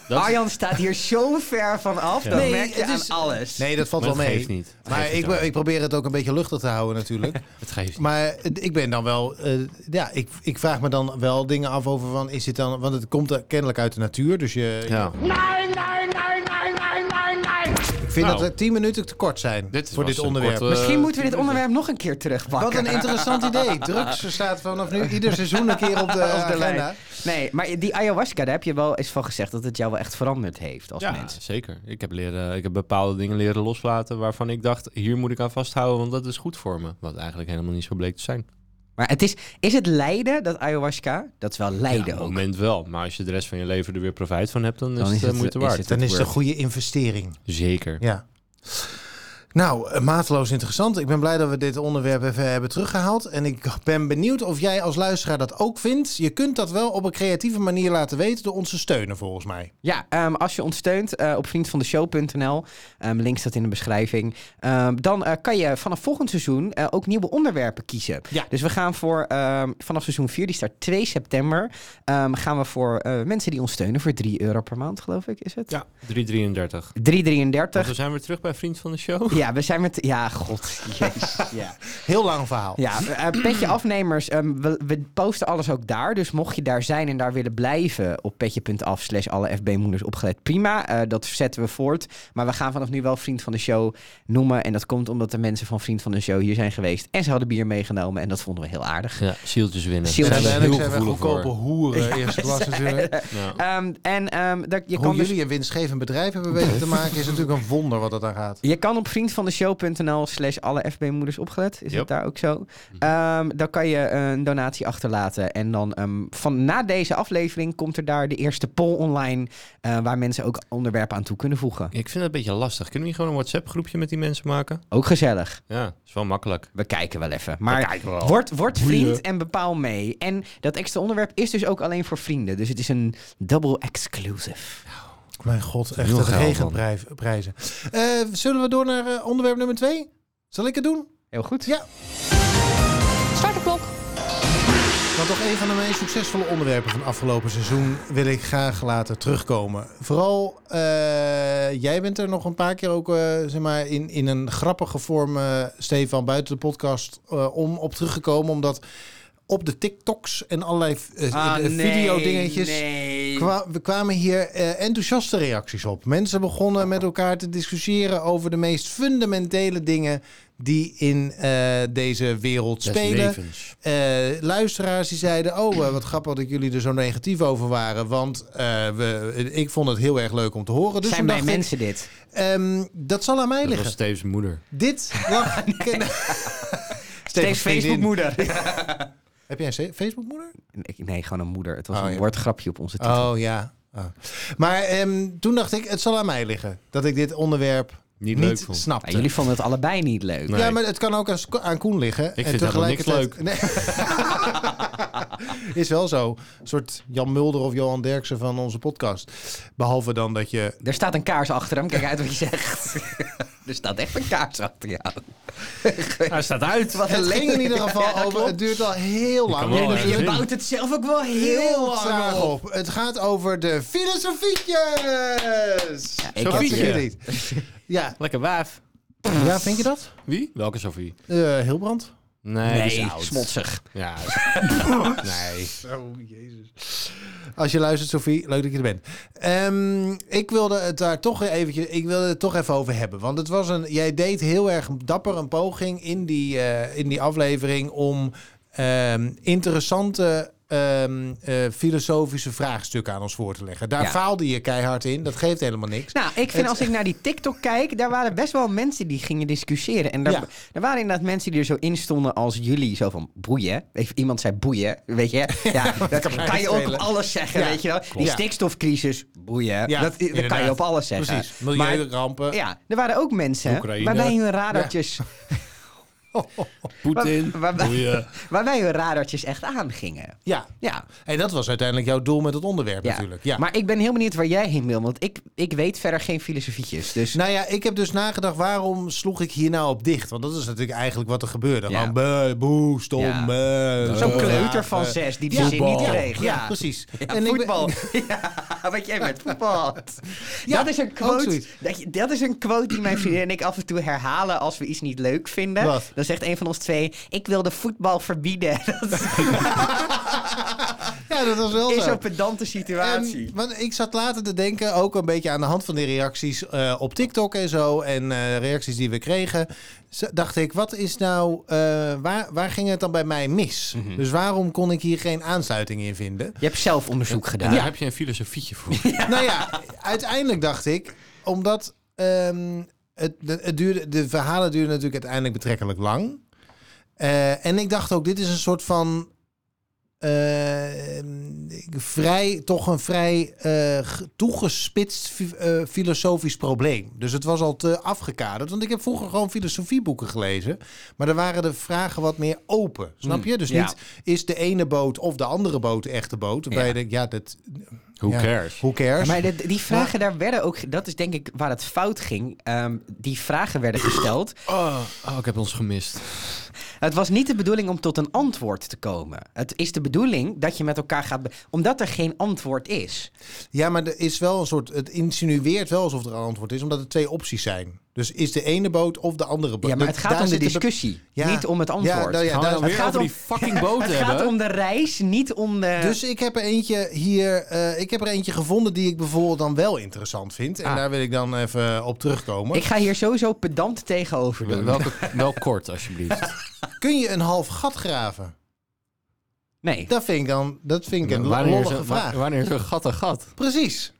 [SPEAKER 1] Dat
[SPEAKER 3] Arjan staat hier zo ver van af.
[SPEAKER 1] Ja.
[SPEAKER 3] Dan
[SPEAKER 2] Nee,
[SPEAKER 3] merk je
[SPEAKER 2] het is-
[SPEAKER 3] aan alles.
[SPEAKER 2] Nee, dat valt
[SPEAKER 1] maar
[SPEAKER 2] wel
[SPEAKER 1] het
[SPEAKER 2] mee.
[SPEAKER 1] geeft niet. Het
[SPEAKER 2] Maar
[SPEAKER 1] geeft niet,
[SPEAKER 2] ik, ben-
[SPEAKER 1] hoor.
[SPEAKER 2] ik probeer het ook een beetje luchtig te houden natuurlijk.
[SPEAKER 1] het geeft niet.
[SPEAKER 2] Maar eh, ik ben dan wel... eh, ja, ik, ik vraag me dan wel dingen af over van... Is dit dan, want het komt eh, kennelijk uit de natuur. Dus je,
[SPEAKER 1] Ja.
[SPEAKER 4] Nein, nein, nein, nein, nein, nein, nein.
[SPEAKER 2] ik vind
[SPEAKER 1] Nou.
[SPEAKER 2] dat we 10 minuten te kort zijn
[SPEAKER 1] Dit is
[SPEAKER 2] voor
[SPEAKER 1] was
[SPEAKER 2] dit
[SPEAKER 1] een
[SPEAKER 2] onderwerp.
[SPEAKER 1] korte-
[SPEAKER 3] Misschien
[SPEAKER 1] Eh,
[SPEAKER 3] moeten we dit onderwerp nog een keer terugpakken.
[SPEAKER 2] Wat een interessant idee. Drugs staat vanaf nu ieder seizoen een keer op de,
[SPEAKER 3] Op de
[SPEAKER 2] agenda.
[SPEAKER 3] lijn. Nee, maar die ayahuasca, daar heb je wel eens van gezegd dat het jou wel echt veranderd heeft als
[SPEAKER 1] Ja,
[SPEAKER 3] mens.
[SPEAKER 1] zeker. Ik heb, leren, ik heb bepaalde dingen leren loslaten waarvan ik dacht, hier moet ik aan vasthouden, want dat is goed voor me. Wat eigenlijk helemaal niet zo bleek te zijn.
[SPEAKER 3] Maar het is, is het lijden, dat ayahuasca? Dat is wel
[SPEAKER 1] op
[SPEAKER 3] lijden
[SPEAKER 1] het
[SPEAKER 3] ook.
[SPEAKER 1] moment wel. Maar als je de rest van je leven er weer profijt van hebt, dan is het, eh, moeite waard.
[SPEAKER 3] het
[SPEAKER 2] Dan is
[SPEAKER 3] worth.
[SPEAKER 2] het een goede investering.
[SPEAKER 1] Zeker.
[SPEAKER 2] Ja. Nou, eh, mateloos interessant. Ik ben blij dat we dit onderwerp even hebben teruggehaald. En ik ben benieuwd of jij als luisteraar dat ook vindt. Je kunt dat wel op een creatieve manier laten weten door ons te steunen, volgens mij.
[SPEAKER 3] Ja, ehm, als je ons steunt eh, op vriendvandeshow.nl, ehm link staat in de beschrijving, ehm, dan eh, kan je vanaf volgend seizoen eh, ook nieuwe onderwerpen kiezen.
[SPEAKER 2] Ja.
[SPEAKER 3] Dus we gaan voor, ehm, vanaf seizoen 4, die start 2 september, ehm, gaan we voor eh, mensen die ons steunen voor 3 euro per maand, geloof ik, is het?
[SPEAKER 1] Ja, 333.
[SPEAKER 3] 3,33.
[SPEAKER 1] Want we zijn weer terug bij Vriend van de Show.
[SPEAKER 3] Ja, we zijn met... Ja, god. Jezus. Ja,
[SPEAKER 2] Heel lang verhaal.
[SPEAKER 3] ja eh, Petje Afnemers, ehm, we, we posten alles ook daar. Dus mocht je daar zijn en daar willen blijven op petje.af slash alle FB-moeders opgelet, prima. Eh, dat zetten we voort. Maar we gaan vanaf nu wel Vriend van de Show noemen. En dat komt omdat de mensen van Vriend van de Show hier zijn geweest. En ze hadden bier meegenomen en dat vonden we heel aardig.
[SPEAKER 1] Ja, zieltjes winnen.
[SPEAKER 3] Zieltjes
[SPEAKER 2] En
[SPEAKER 1] Daar zijn we
[SPEAKER 2] uiteindelijk
[SPEAKER 1] heel
[SPEAKER 2] zijn we
[SPEAKER 1] gevoelig
[SPEAKER 2] goedkope
[SPEAKER 1] voor.
[SPEAKER 2] hoeren eerste klas natuurlijk.
[SPEAKER 1] Ja.
[SPEAKER 3] Ehm, en ehm, dat, je
[SPEAKER 2] Hoe
[SPEAKER 3] kan dus
[SPEAKER 2] jullie een winstgevend bedrijf hebben weten te maken is natuurlijk een wonder wat dat aan gaat.
[SPEAKER 3] Je kan op vriendvandeshow.nl slash alle FB-moeders opgelet. Is
[SPEAKER 1] Yep. Mhm.
[SPEAKER 3] dat daar ook zo? Ehm, dan kan je een donatie achterlaten. En dan ehm, van na deze aflevering komt er daar de eerste poll online... eh, waar mensen ook onderwerpen aan toe kunnen voegen.
[SPEAKER 1] Ik vind dat een beetje lastig. Kunnen we niet gewoon een WhatsApp-groepje met die mensen maken?
[SPEAKER 3] Ook gezellig.
[SPEAKER 1] Ja, is wel makkelijk.
[SPEAKER 3] We kijken wel even. Maar
[SPEAKER 1] kijken wel.
[SPEAKER 3] word, word vriend
[SPEAKER 1] Boeien.
[SPEAKER 3] en bepaal mee. En dat extra onderwerp is dus ook alleen voor vrienden. Dus het is een double exclusive.
[SPEAKER 2] Mijn god, echt
[SPEAKER 1] Heel
[SPEAKER 2] het
[SPEAKER 1] geil,
[SPEAKER 2] regenprijzen. Eh, zullen we door naar eh, onderwerp nummer twee? Zal ik het doen?
[SPEAKER 3] Heel goed.
[SPEAKER 2] Ja.
[SPEAKER 5] Start de klok.
[SPEAKER 2] Want toch een van de meest succesvolle onderwerpen van afgelopen seizoen wil ik graag laten terugkomen. Vooral, eh, jij bent er nog een paar keer ook eh, zeg maar in, in een grappige vorm, eh, Stefan, buiten de podcast eh, om op teruggekomen. Omdat op de TikToks en allerlei eh, eh,
[SPEAKER 3] Ah,
[SPEAKER 2] videodingetjes...
[SPEAKER 3] Nee.
[SPEAKER 2] Kwa- we kwamen hier eh, enthousiaste reacties op. Mensen begonnen met elkaar te discussiëren over de meest fundamentele dingen die in eh, deze wereld spelen.
[SPEAKER 1] levens.
[SPEAKER 2] Eh, luisteraars die zeiden: Oh, eh, wat grappig dat jullie er zo negatief over waren. Want eh, we, ik vond het heel erg leuk om te horen. Dus
[SPEAKER 3] Zijn
[SPEAKER 2] toen
[SPEAKER 3] bij
[SPEAKER 2] dacht ik,
[SPEAKER 3] mensen dit?
[SPEAKER 2] ehm, dat zal aan mij
[SPEAKER 1] Dat
[SPEAKER 2] liggen.
[SPEAKER 1] was Steve's moeder.
[SPEAKER 2] Dit lag.
[SPEAKER 3] Steeds Facebookmoeder.
[SPEAKER 2] Heb jij een Facebookmoeder?
[SPEAKER 3] Nee, nee, gewoon een moeder. Het was
[SPEAKER 2] Oh,
[SPEAKER 3] een
[SPEAKER 2] ja.
[SPEAKER 3] woordgrapje op onze titel.
[SPEAKER 2] Oh ja. Oh. Maar ehm, toen dacht ik, het zal aan mij liggen. Dat ik dit onderwerp
[SPEAKER 1] Niet
[SPEAKER 2] niet,
[SPEAKER 1] leuk vond.
[SPEAKER 2] snapte.
[SPEAKER 3] Nou, jullie vonden het allebei niet leuk.
[SPEAKER 1] Nee.
[SPEAKER 2] Ja, maar het kan ook aan, Sco- aan Koen liggen. Ik
[SPEAKER 1] vind helemaal niks
[SPEAKER 2] Nee. Is wel zo. Een soort Jan Mulder of Johan Derksen van onze podcast. Behalve dan dat je...
[SPEAKER 3] Er staat een kaars achter hem. Kijk uit wat je zegt. er staat echt een kaars achter jou.
[SPEAKER 1] Hij staat uit.
[SPEAKER 3] Wat
[SPEAKER 2] Het ging in ieder geval
[SPEAKER 3] Ja,
[SPEAKER 2] over...
[SPEAKER 3] klopt.
[SPEAKER 2] Het duurt al heel
[SPEAKER 1] kan
[SPEAKER 2] lang.
[SPEAKER 1] wel
[SPEAKER 2] Dus
[SPEAKER 1] erg
[SPEAKER 2] het
[SPEAKER 3] Je
[SPEAKER 1] zin.
[SPEAKER 3] bouwt het zelf ook wel heel,
[SPEAKER 2] heel
[SPEAKER 3] lang
[SPEAKER 2] traag
[SPEAKER 3] op.
[SPEAKER 2] op. Het gaat over de filosofietjes. Ja,
[SPEAKER 3] ik
[SPEAKER 1] Sofietje.
[SPEAKER 3] heb
[SPEAKER 2] niet. Ja.
[SPEAKER 1] Lekker waaf.
[SPEAKER 2] ja, vind je dat?
[SPEAKER 1] Wie? Welke Sophie?
[SPEAKER 2] Eh Hilbrand?
[SPEAKER 1] Nee, die
[SPEAKER 3] Nee,
[SPEAKER 1] is oud.
[SPEAKER 3] smotsig.
[SPEAKER 1] Ja. dus nee.
[SPEAKER 2] Oh, jezus. Als je luistert, Sophie, leuk dat je er bent. Ehm, ik wilde het daar toch eventjes, ik wilde het toch even over hebben. Want het was een, jij deed heel erg dapper een poging in die, eh, in die aflevering om ehm, interessante ehm, eh, filosofische vraagstukken aan ons voor te leggen. Daar
[SPEAKER 3] Ja.
[SPEAKER 2] faalde je keihard in. Dat geeft helemaal niks.
[SPEAKER 3] Nou, ik vind als ik naar die TikTok kijk, daar waren best wel mensen die gingen discussiëren. En daar,
[SPEAKER 2] Ja.
[SPEAKER 3] daar waren inderdaad mensen die er zo in stonden als jullie. Zo van boeien. Even, iemand zei boeien, weet je. Ja, dat
[SPEAKER 2] kan mij
[SPEAKER 3] kan, je ook op
[SPEAKER 2] schelen.
[SPEAKER 3] alles zeggen,
[SPEAKER 2] Ja,
[SPEAKER 3] weet je wel. Die
[SPEAKER 2] Ja.
[SPEAKER 3] stikstofcrisis, boeien.
[SPEAKER 2] Ja,
[SPEAKER 3] dat, dat kan
[SPEAKER 2] inderdaad.
[SPEAKER 3] je op alles zeggen.
[SPEAKER 2] Precies.
[SPEAKER 3] Maar-
[SPEAKER 2] Milieurampen.
[SPEAKER 3] Ja, er waren ook mensen
[SPEAKER 1] Oekraïne.
[SPEAKER 3] waarbij hun radartjes,
[SPEAKER 1] Poetin.
[SPEAKER 3] Waar- waar-
[SPEAKER 1] Boeien.
[SPEAKER 3] waarbij hun radartjes echt aangingen.
[SPEAKER 2] ja.
[SPEAKER 3] Ja,
[SPEAKER 2] En dat was uiteindelijk jouw doel met het onderwerp
[SPEAKER 3] ja.
[SPEAKER 2] natuurlijk. Ja.
[SPEAKER 3] maar ik ben heel benieuwd waar jij heen wil, want ik, ik weet verder geen filosofietjes. Dus
[SPEAKER 2] Nou ja, ik heb dus nagedacht, waarom sloeg ik hier nou op dicht? Want dat is natuurlijk eigenlijk wat er gebeurde.
[SPEAKER 3] Ja.
[SPEAKER 2] Gewoon beh, boe, stom,
[SPEAKER 3] Ja.
[SPEAKER 2] beh,
[SPEAKER 3] zo'n
[SPEAKER 2] eh,
[SPEAKER 3] kleuter
[SPEAKER 2] eh,
[SPEAKER 3] van
[SPEAKER 2] eh,
[SPEAKER 3] zes die die
[SPEAKER 2] ja,
[SPEAKER 3] zin niet
[SPEAKER 2] voetbal.
[SPEAKER 3] kreeg.
[SPEAKER 2] Ja,
[SPEAKER 3] Ja,
[SPEAKER 2] precies.
[SPEAKER 3] Ja,
[SPEAKER 2] ik ben-
[SPEAKER 3] voetbal. Ja, wat jij met voetbal. had.
[SPEAKER 2] Ja,
[SPEAKER 3] dat, is een
[SPEAKER 2] ook
[SPEAKER 3] quote,
[SPEAKER 2] zoiets.
[SPEAKER 3] dat, je- dat is een quote die mijn vriendin en ik af en toe herhalen als we iets niet leuk vinden.
[SPEAKER 2] Wat?
[SPEAKER 3] Dan zegt een van ons twee, ik wil de voetbal verbieden. Dat
[SPEAKER 2] ja, dat was wel
[SPEAKER 3] is
[SPEAKER 2] zo.
[SPEAKER 3] zo'n pedante situatie.
[SPEAKER 2] En- want ik zat later te denken, ook een beetje aan de hand van de reacties eh, op TikTok en zo. En eh, reacties die we kregen. z- Dacht ik, wat is nou, eh, waar, waar ging het dan bij mij mis?
[SPEAKER 3] Mhm.
[SPEAKER 2] Dus waarom kon ik hier geen aansluiting in vinden?
[SPEAKER 3] Je hebt zelf onderzoek gedaan.
[SPEAKER 1] Daar heb je een filosofietje voor.
[SPEAKER 2] nou ja, uiteindelijk dacht ik, omdat ehm, het, de, het duurde, de verhalen duurden natuurlijk uiteindelijk betrekkelijk lang. Eh, en ik dacht ook, dit is een soort van eh, vrij, toch een vrij eh, g- toegespitst fi- eh, filosofisch probleem. Dus het was al te afgekaderd. Want ik heb vroeger gewoon filosofieboeken gelezen. Maar daar waren de vragen wat meer open. Snap je? Dus
[SPEAKER 3] ja.
[SPEAKER 2] niet is de ene boot of de andere boot de echte boot. Waarbij
[SPEAKER 3] Ja.
[SPEAKER 2] je denkt, ja, dat,
[SPEAKER 1] Who
[SPEAKER 2] Ja.
[SPEAKER 1] cares?
[SPEAKER 2] who cares?
[SPEAKER 3] Maar de- die vragen daar werden ook, dat is denk ik waar het fout ging. Ehm, die vragen werden gesteld.
[SPEAKER 1] Oh, oh, ik heb ons gemist.
[SPEAKER 3] Het was niet de bedoeling om tot een antwoord te komen. Het is de bedoeling dat je met elkaar gaat, be- omdat er geen antwoord is.
[SPEAKER 2] Ja, maar er is wel een soort. Het insinueert wel alsof er een antwoord is, omdat er twee opties zijn. Dus is de ene boot of de andere boot.
[SPEAKER 3] Ja, maar het
[SPEAKER 2] Dat-
[SPEAKER 3] gaat
[SPEAKER 2] daar
[SPEAKER 3] om de
[SPEAKER 2] zit be-
[SPEAKER 3] discussie,
[SPEAKER 2] Ja.
[SPEAKER 3] niet om het
[SPEAKER 2] Ja,
[SPEAKER 3] antwoord.
[SPEAKER 2] nou ja,
[SPEAKER 1] Gaan we
[SPEAKER 2] daar-
[SPEAKER 1] dan weer
[SPEAKER 3] gaat
[SPEAKER 1] over
[SPEAKER 3] om-
[SPEAKER 1] die fucking boot
[SPEAKER 3] Het
[SPEAKER 1] hebben?
[SPEAKER 3] gaat om de reis, niet om de...
[SPEAKER 2] dus ik heb er eentje hier. eh, ik heb er eentje gevonden die ik bijvoorbeeld dan wel interessant vind. En
[SPEAKER 3] Ah.
[SPEAKER 2] daar wil ik dan even op terugkomen.
[SPEAKER 3] ik ga hier sowieso pedant tegenover doen.
[SPEAKER 1] Welke, wel kort, alsjeblieft.
[SPEAKER 2] Kun je een half gat graven?
[SPEAKER 3] Nee.
[SPEAKER 2] Dat vind ik dan. Dat vind ik een
[SPEAKER 1] wanneer, is
[SPEAKER 2] lollige
[SPEAKER 1] een,
[SPEAKER 2] vraag.
[SPEAKER 1] wa- wanneer is een gat een gat?
[SPEAKER 2] Precies.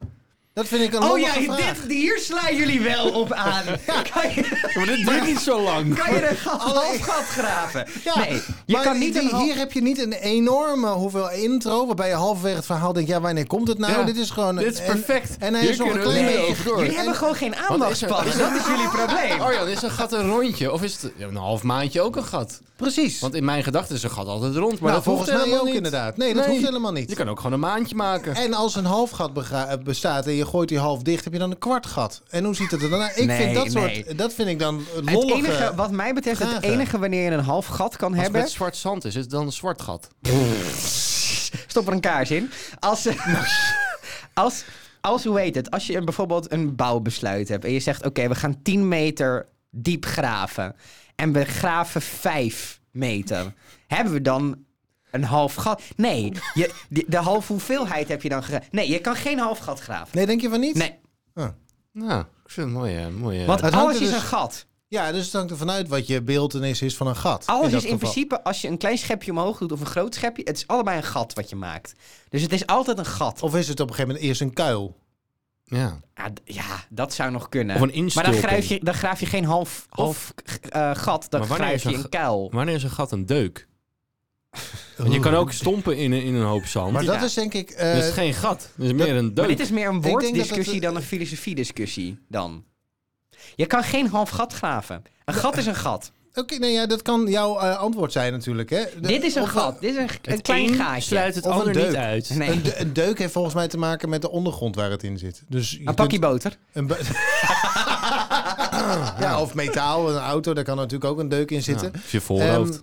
[SPEAKER 2] Dat vind ik een
[SPEAKER 3] Oh
[SPEAKER 2] lollige
[SPEAKER 3] ja,
[SPEAKER 2] vraag.
[SPEAKER 3] dit, hier slaan jullie wel op aan. Kan je,
[SPEAKER 1] Maar dit duurt niet zo lang.
[SPEAKER 3] kan je een half gat graven?
[SPEAKER 2] Ja,
[SPEAKER 3] nee, je
[SPEAKER 2] maar
[SPEAKER 3] kan niet
[SPEAKER 2] die-
[SPEAKER 3] een half-
[SPEAKER 2] hier heb je niet een enorme hoeveel intro... waarbij je halverwege het verhaal denkt... ja, wanneer komt het nou?
[SPEAKER 1] Ja,
[SPEAKER 2] dit is gewoon...
[SPEAKER 1] dit is
[SPEAKER 2] en-
[SPEAKER 1] perfect.
[SPEAKER 2] En, hij
[SPEAKER 1] Hier
[SPEAKER 2] is nog een
[SPEAKER 1] kunnen we
[SPEAKER 2] klein
[SPEAKER 1] niet
[SPEAKER 2] beetje...
[SPEAKER 1] over door.
[SPEAKER 3] Jullie
[SPEAKER 2] En-
[SPEAKER 3] hebben gewoon geen
[SPEAKER 1] Wat
[SPEAKER 3] aandachtspan.
[SPEAKER 1] is er-
[SPEAKER 3] Dat is jullie
[SPEAKER 2] Oh
[SPEAKER 3] probleem.
[SPEAKER 1] Arjan, Oh is een gat een rondje? Of is het ja, een half maandje ook een gat?
[SPEAKER 2] Precies.
[SPEAKER 1] Want in mijn gedachten is een gat altijd rond. Maar
[SPEAKER 2] Nou,
[SPEAKER 1] dat
[SPEAKER 2] volgens
[SPEAKER 1] hoeft
[SPEAKER 2] mij
[SPEAKER 1] helemaal
[SPEAKER 2] ook
[SPEAKER 1] niet.
[SPEAKER 2] inderdaad. Nee, dat hoeft helemaal niet.
[SPEAKER 1] Je kan ook gewoon een maandje maken.
[SPEAKER 2] En als een half gat bega- eh, bestaat en je gooit die half dicht... heb je dan een kwart gat. En hoe ziet het er dan uit? Ik
[SPEAKER 3] Nee,
[SPEAKER 2] vind dat
[SPEAKER 3] nee.
[SPEAKER 2] soort... Dat vind ik dan eh,
[SPEAKER 3] Het
[SPEAKER 2] lollige...
[SPEAKER 3] enige, wat mij betreft, het
[SPEAKER 2] vragen.
[SPEAKER 3] enige wanneer je een half gat kan
[SPEAKER 1] Als het
[SPEAKER 3] hebben...
[SPEAKER 1] met zwart zand is, is het dan een zwart gat?
[SPEAKER 3] Stop er een kaars in. Als, als, als hoe heet het? Als je een- bijvoorbeeld een bouwbesluit hebt en je zegt: Oké, we gaan 10 meter diep graven. En we graven 5 meter. Hebben we dan een half gat? Nee, je, de, de half hoeveelheid heb je dan gegraven. Nee, je kan geen half gat graven.
[SPEAKER 2] Nee, denk je van niet?
[SPEAKER 3] Nee,
[SPEAKER 1] Nou, ik vind het mooi, hè, mooi. hè.
[SPEAKER 3] want
[SPEAKER 2] het hangt
[SPEAKER 3] alles
[SPEAKER 2] er
[SPEAKER 3] is
[SPEAKER 2] dus-
[SPEAKER 3] een gat.
[SPEAKER 2] Ja, dus het hangt ervan uit wat je beeldenis is van een gat.
[SPEAKER 3] Alles
[SPEAKER 2] dat
[SPEAKER 3] is in
[SPEAKER 2] geval.
[SPEAKER 3] principe, als je een klein schepje omhoog doet of een groot schepje, het is allebei een gat wat je maakt. Dus het is altijd een gat.
[SPEAKER 2] Of is het op een gegeven moment eerst een kuil?
[SPEAKER 1] Ja.
[SPEAKER 3] Ja, Ah, d- ja, dat zou nog kunnen.
[SPEAKER 1] Of een
[SPEAKER 3] maar dan
[SPEAKER 1] instulping.
[SPEAKER 3] graaf je, dan graaf je geen half, half eh, gat, dan
[SPEAKER 1] Maar wanneer
[SPEAKER 3] graaf
[SPEAKER 1] is
[SPEAKER 3] je
[SPEAKER 1] een
[SPEAKER 3] een
[SPEAKER 1] ge-
[SPEAKER 3] kuil.
[SPEAKER 1] Wanneer is een gat een deuk? Want je kan ook stompen in, een- in een hoop zand.
[SPEAKER 2] Maar
[SPEAKER 1] Dus
[SPEAKER 2] dat
[SPEAKER 3] Ja.
[SPEAKER 2] is denk ik... eh,
[SPEAKER 1] het is geen gat. Het is meer een
[SPEAKER 3] Maar
[SPEAKER 1] deuk.
[SPEAKER 3] dit is meer een
[SPEAKER 2] denk dat het-
[SPEAKER 3] woorddiscussie dan een filosofie-discussie dan. Je kan geen half gat graven. Een gat is een gat.
[SPEAKER 2] Oké, nee, ja, dat kan jouw eh, antwoord zijn natuurlijk. Hè. De-
[SPEAKER 3] dit is een
[SPEAKER 2] of-
[SPEAKER 3] gat. Dit is een, een
[SPEAKER 1] Het
[SPEAKER 3] klein
[SPEAKER 1] een
[SPEAKER 3] gaatje.
[SPEAKER 1] sluit het
[SPEAKER 2] Of een
[SPEAKER 1] ander
[SPEAKER 2] deuk.
[SPEAKER 1] niet uit.
[SPEAKER 3] Nee.
[SPEAKER 2] Een, de- een deuk heeft volgens mij te maken met de ondergrond waar het in zit. Dus je
[SPEAKER 3] een
[SPEAKER 2] kunt-
[SPEAKER 3] pakje boter.
[SPEAKER 2] Een bu- ja, of metaal, een auto, daar kan natuurlijk ook een deuk in zitten.
[SPEAKER 1] Ja, of je voorhoofd.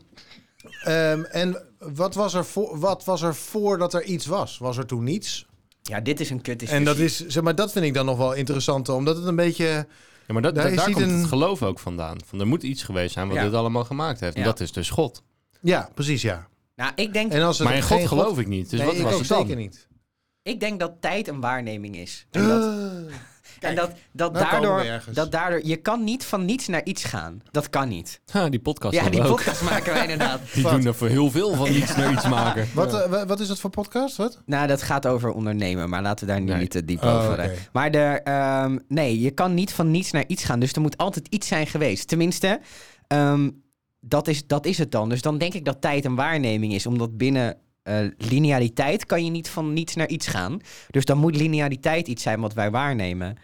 [SPEAKER 2] Ehm, en wat was, er voor, wat was er voordat er iets was? Was er toen niets?
[SPEAKER 3] Ja, dit is een kut
[SPEAKER 2] En dat, is, zeg maar, dat vind ik dan nog wel interessant, omdat het een beetje...
[SPEAKER 1] ja, maar dat,
[SPEAKER 2] daar
[SPEAKER 1] daar,
[SPEAKER 2] is
[SPEAKER 1] daar
[SPEAKER 2] niet
[SPEAKER 1] komt
[SPEAKER 2] een-
[SPEAKER 1] het geloof ook vandaan. Van, er moet iets geweest zijn wat
[SPEAKER 3] Ja.
[SPEAKER 1] dit allemaal gemaakt heeft. En
[SPEAKER 3] Ja.
[SPEAKER 1] dat is dus God.
[SPEAKER 2] Ja, precies, ja.
[SPEAKER 3] Nou, ik denk,
[SPEAKER 2] En als het
[SPEAKER 1] Maar in
[SPEAKER 2] geen
[SPEAKER 1] God geloof ik niet. Dus
[SPEAKER 2] Nee,
[SPEAKER 1] wat
[SPEAKER 2] ik
[SPEAKER 1] was
[SPEAKER 2] ook
[SPEAKER 1] het dan?
[SPEAKER 2] zeker niet.
[SPEAKER 3] ik denk dat tijd een waarneming is. En dat,
[SPEAKER 2] eh,
[SPEAKER 3] en dat, dat,
[SPEAKER 2] nou komen we
[SPEAKER 3] daardoor,
[SPEAKER 2] ergens.
[SPEAKER 3] dat daardoor... Je kan niet van niets naar iets gaan. Dat kan niet.
[SPEAKER 1] Ha, die podcast
[SPEAKER 3] Ja,
[SPEAKER 1] dan
[SPEAKER 3] die
[SPEAKER 1] ook.
[SPEAKER 3] podcast maken wij inderdaad.
[SPEAKER 1] Die doen er voor heel veel van iets naar iets maken.
[SPEAKER 2] Wat, eh, wa- wat is dat voor podcast? Wat?
[SPEAKER 3] Nou, dat gaat over ondernemen, maar laten we daar nu
[SPEAKER 1] Nee.
[SPEAKER 3] niet te diep
[SPEAKER 2] Oh,
[SPEAKER 3] over.
[SPEAKER 2] oké.
[SPEAKER 3] eh. Maar de, ehm, nee, je kan niet van niets naar iets gaan, dus er moet altijd iets zijn geweest. Tenminste, ehm, dat, is, dat is het dan. Dus dan denk ik dat tijd een waarneming is, omdat binnen eh, lineariteit kan je niet van niets naar iets gaan. Dus dan moet lineariteit iets zijn wat wij waarnemen.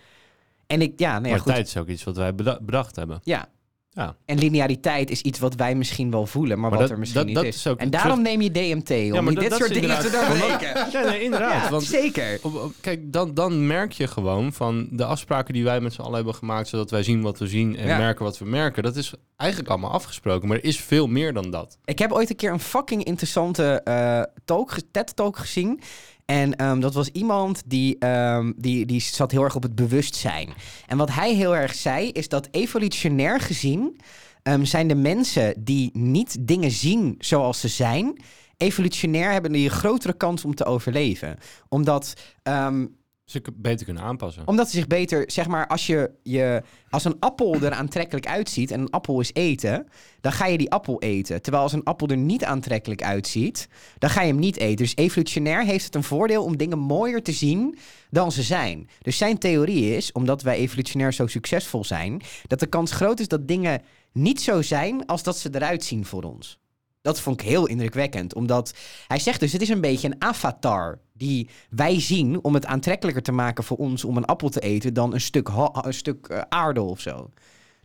[SPEAKER 3] En ik, ja, nee, ja,
[SPEAKER 1] maar
[SPEAKER 3] goed.
[SPEAKER 1] tijd is ook iets wat wij beda- bedacht hebben.
[SPEAKER 3] Ja.
[SPEAKER 1] Ja.
[SPEAKER 3] En lineariteit is iets wat wij misschien wel voelen,
[SPEAKER 1] Maar
[SPEAKER 3] maar, wat
[SPEAKER 1] dat-
[SPEAKER 3] er misschien
[SPEAKER 1] dat-
[SPEAKER 3] niet
[SPEAKER 1] dat
[SPEAKER 3] is.
[SPEAKER 1] is ook
[SPEAKER 3] en daarom neem je DMT, om
[SPEAKER 1] maar dat-
[SPEAKER 3] niet dit
[SPEAKER 1] dat
[SPEAKER 3] soort
[SPEAKER 1] is
[SPEAKER 3] dingen te
[SPEAKER 1] inderdaad-
[SPEAKER 3] doorbreken.
[SPEAKER 1] Ja, nee, inderdaad.
[SPEAKER 3] Ja,
[SPEAKER 1] want
[SPEAKER 3] zeker.
[SPEAKER 1] Op- op- Kijk, dan, dan merk je gewoon van de afspraken die wij met z'n allen hebben gemaakt, zodat wij zien wat we zien en
[SPEAKER 3] Ja.
[SPEAKER 1] merken wat we merken. Dat is eigenlijk allemaal afgesproken, maar er is veel meer dan dat.
[SPEAKER 3] Ik heb ooit een keer een fucking interessante eh, talk, ge- TED-talk gezien. En ehm, dat was iemand die, ehm, die, die zat heel erg op het bewustzijn. En wat hij heel erg zei, is dat evolutionair gezien... ehm, zijn de mensen die niet dingen zien zoals ze zijn... evolutionair hebben die een grotere kans om te overleven. Omdat... ehm,
[SPEAKER 1] Ze k- Dus beter kunnen aanpassen. Nou.
[SPEAKER 3] omdat ze zich beter, zeg maar, als, je, je, als een appel er aantrekkelijk uitziet en een appel is eten, dan ga je die appel eten. Terwijl als een appel er niet aantrekkelijk uitziet, dan ga je hem niet eten. Dus evolutionair heeft het een voordeel om dingen mooier te zien dan ze zijn. Dus zijn theorie is, omdat wij evolutionair zo succesvol zijn, dat de kans groot is dat dingen niet zo zijn als dat ze eruit zien voor ons. Dat vond ik heel indrukwekkend, omdat hij zegt dus, het is een beetje een avatar die wij zien om het aantrekkelijker te maken voor ons om een appel te eten dan een stuk, ha- een stuk eh, aarde of zo.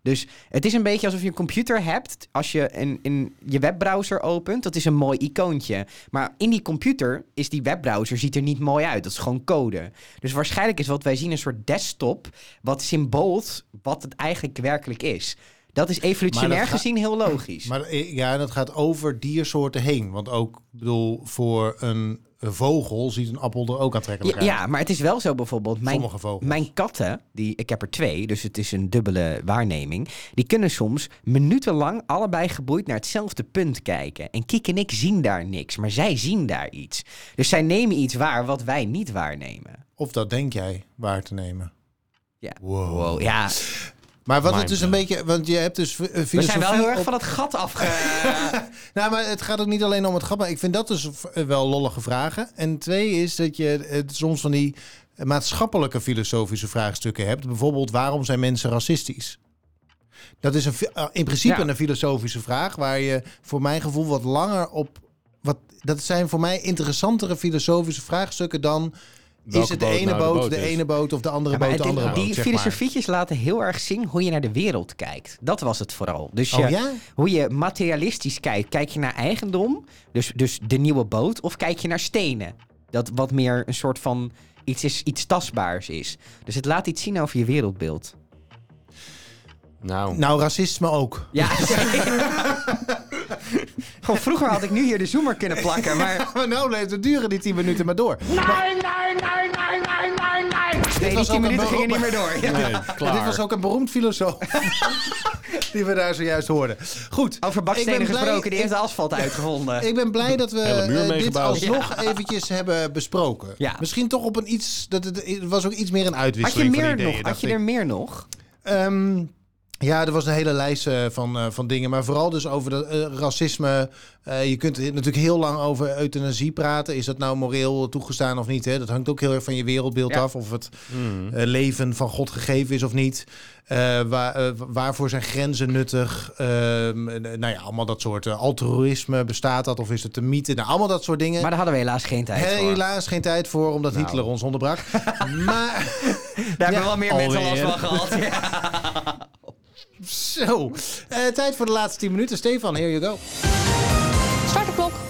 [SPEAKER 3] Dus het is een beetje alsof je een computer hebt. Als je een, een, je webbrowser opent, dat is een mooi icoontje. Maar in die computer is die webbrowser ziet er niet mooi uit. Dat is gewoon code. Dus waarschijnlijk is wat wij zien een soort desktop... wat symbolt wat het eigenlijk werkelijk is. Dat is evolutionair
[SPEAKER 2] ga-
[SPEAKER 3] gezien heel logisch.
[SPEAKER 2] Maar eh, ja, dat gaat over diersoorten heen. Want ook, ik bedoel, voor een een vogel ziet een appel er ook aantrekkelijk
[SPEAKER 3] Ja,
[SPEAKER 2] uit.
[SPEAKER 3] ja, maar het is wel zo bijvoorbeeld. Mijn,
[SPEAKER 2] Sommige vogels.
[SPEAKER 3] mijn katten, die, ik heb er twee, dus het is een dubbele waarneming. Die kunnen soms minutenlang allebei geboeid naar hetzelfde punt kijken. En Kiek en ik zien daar niks, maar zij zien daar iets. Dus zij nemen iets waar wat wij niet waarnemen.
[SPEAKER 2] Of dat denk jij waar te nemen.
[SPEAKER 3] Ja.
[SPEAKER 2] Wow.
[SPEAKER 3] Wow, ja.
[SPEAKER 2] Maar wat het
[SPEAKER 1] Mind
[SPEAKER 2] dus een beetje... Want je hebt dus eh, filosofie...
[SPEAKER 3] We zijn wel heel erg
[SPEAKER 2] op-
[SPEAKER 3] van het gat afge...
[SPEAKER 2] Nou, maar het gaat ook niet alleen om het gat. Maar ik vind dat dus v- eh, wel lollige vragen. En twee is dat je eh, soms van die maatschappelijke filosofische vraagstukken hebt. Bijvoorbeeld, waarom zijn mensen racistisch? Dat is een, fi- eh, in principe
[SPEAKER 3] Ja.
[SPEAKER 2] een filosofische vraag... waar je voor mijn gevoel wat langer op... Wat, dat zijn voor mij interessantere filosofische vraagstukken dan... is
[SPEAKER 1] Welke
[SPEAKER 2] het de
[SPEAKER 1] boot
[SPEAKER 2] ene
[SPEAKER 1] nou de
[SPEAKER 2] boot, de,
[SPEAKER 1] boot is?
[SPEAKER 2] ene boot of de andere
[SPEAKER 3] Ja, maar
[SPEAKER 2] boot,
[SPEAKER 3] het
[SPEAKER 2] de
[SPEAKER 3] is-
[SPEAKER 2] andere boot,
[SPEAKER 3] die
[SPEAKER 2] zeg maar.
[SPEAKER 3] filosofietjes laten heel erg zien hoe je naar de wereld kijkt. Dat was het vooral. Dus je,
[SPEAKER 2] Oh ja?
[SPEAKER 3] hoe je materialistisch kijkt. Kijk je naar eigendom, dus, dus de nieuwe boot, of kijk je naar stenen? Dat wat meer een soort van iets, is, iets tastbaars is. Dus het laat iets zien over je wereldbeeld.
[SPEAKER 1] Nou,
[SPEAKER 2] Nou, racisme ook.
[SPEAKER 3] Ja, Gewoon vroeger had ik nu hier de zoomer kunnen plakken, maar...
[SPEAKER 2] Maar nou, nee, we duren die 10 minuten maar door.
[SPEAKER 4] Nein, nein, nein, nein, nein, nein, nein.
[SPEAKER 3] Nee, die
[SPEAKER 2] was
[SPEAKER 3] 10
[SPEAKER 2] ook een
[SPEAKER 3] minuten gingen niet
[SPEAKER 2] beroep-
[SPEAKER 3] meer door. Ja.
[SPEAKER 1] nee, klaar.
[SPEAKER 2] Dit was ook een beroemd filosoof. die we daar zojuist hoorden. Goed.
[SPEAKER 3] Over
[SPEAKER 2] ik
[SPEAKER 3] bakstenen
[SPEAKER 2] ben blij-
[SPEAKER 3] gesproken, die heeft de asfalt
[SPEAKER 2] ik-
[SPEAKER 3] uitgevonden.
[SPEAKER 2] Ik ben blij dat we
[SPEAKER 1] Hele muur
[SPEAKER 2] eh, dit
[SPEAKER 1] meegebouwd.
[SPEAKER 2] alsnog eventjes hebben besproken.
[SPEAKER 3] Ja.
[SPEAKER 2] Misschien toch op een iets... Dat het, het was ook iets meer een
[SPEAKER 3] Had je,
[SPEAKER 2] uitwisseling van
[SPEAKER 3] meer
[SPEAKER 2] ideeën.
[SPEAKER 3] nog?
[SPEAKER 2] dacht
[SPEAKER 3] Had je
[SPEAKER 2] ik.
[SPEAKER 3] er meer nog?
[SPEAKER 2] Ehm, Ja, er was een hele lijst eh, van, eh, van dingen. Maar vooral dus over de, eh, racisme. Eh, je kunt hier natuurlijk heel lang over euthanasie praten. Is dat nou moreel toegestaan of niet? Hè? Dat hangt ook heel erg van je wereldbeeld
[SPEAKER 3] Ja. Mm.
[SPEAKER 2] af. Of het eh, leven van God gegeven is of niet. Eh, waar, eh, waarvoor zijn grenzen nuttig? Ehm, eh, nou ja, allemaal dat soort eh, altruïsme. Bestaat dat of is het een mythe? Nou, allemaal dat soort dingen.
[SPEAKER 3] Maar daar hadden we helaas geen tijd voor.
[SPEAKER 2] Helaas geen tijd voor, omdat
[SPEAKER 3] Nou.
[SPEAKER 2] Hitler ons onderbrak. maar...
[SPEAKER 3] Daar hebben wel meer mensen last
[SPEAKER 1] alweer.
[SPEAKER 3] van gehad. Ja.
[SPEAKER 2] Zo, Eh, tijd voor de laatste 10 minuten. Stefan, here you go.
[SPEAKER 5] Start de klok.